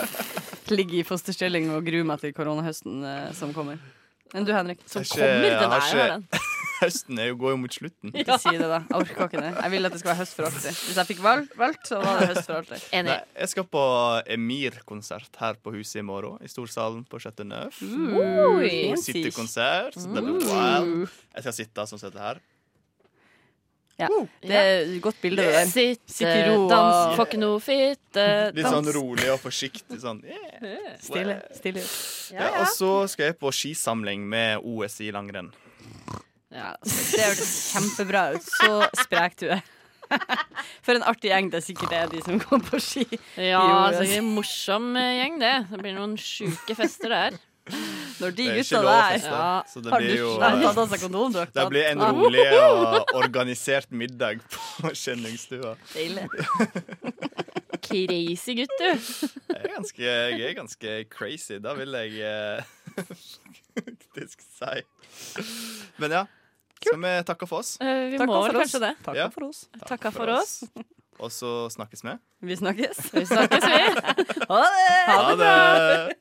S6: <laughs> Ligge i fosterstilling og grue meg til koronahøsten eh, som kommer. Men du, Henrik?
S5: Jeg har ikke- jeg Eh, har ikke- Høsten er jo, går jo mot
S6: <laughs>
S5: slutten.
S6: Ikke si det, da. Jeg orker ikke det. Jeg vil at det skal være høst for alltid. Hvis jeg fikk valgt, valgt så var det høst for alltid.
S7: Eh,
S5: Nei, jeg skal på Emir-konsert her på huset i morgen, i Storsalen på Chateau Neuf.
S6: Mm, Oi.
S5: City-konsert. så Det blir
S6: Mm.
S5: wild. Jeg skal sitte sånn som dette her.
S6: Ja, det er et godt bilde det der.
S7: Sitte,
S6: Sitte i ro og-
S7: dans, får ikke noe fitte,
S5: Litt
S7: dans.
S5: sånn rolig og forsiktig
S6: <laughs>
S5: sånn. Yeah.
S6: Stille. stille.
S5: Ja, og så skal jeg på skisamling med OS i langrenn.
S6: Ja, altså, det hørtes kjempebra ut. Så sprek du er. <laughs> For en artig gjeng det sikkert er, de som går på ski.
S7: Ja,
S6: Jo,
S7: sikkert en morsom eh, gjeng, det. Det blir noen sjuke fester der.
S6: Når de
S5: Det er ikke
S6: gutta
S5: lov å
S6: der
S5: feste, så det
S6: Har
S5: blir
S6: du
S5: jo,
S6: har du
S5: eh,
S6: tatt av seg kondomdrakta?
S5: Det blir en
S6: Ah.
S5: rolig og organisert middag på kjenningsstua.
S6: Deilig.
S7: <laughs> Crazy gutt, du.
S5: Jeg er ganske, jeg er ganske crazy. Da vil jeg eh, <laughs> faktisk si Men ja. Skal vi takke for oss?
S7: Eh, vi
S6: Takk
S7: må
S6: for
S7: vel
S6: oss.
S7: kanskje det.
S5: Ja.
S6: for oss.
S7: Takka for oss.
S5: Og så snakkes vi.
S6: Vi snakkes.
S7: Vi snakkes, vi.
S6: <laughs> Ha det!
S5: Ha det!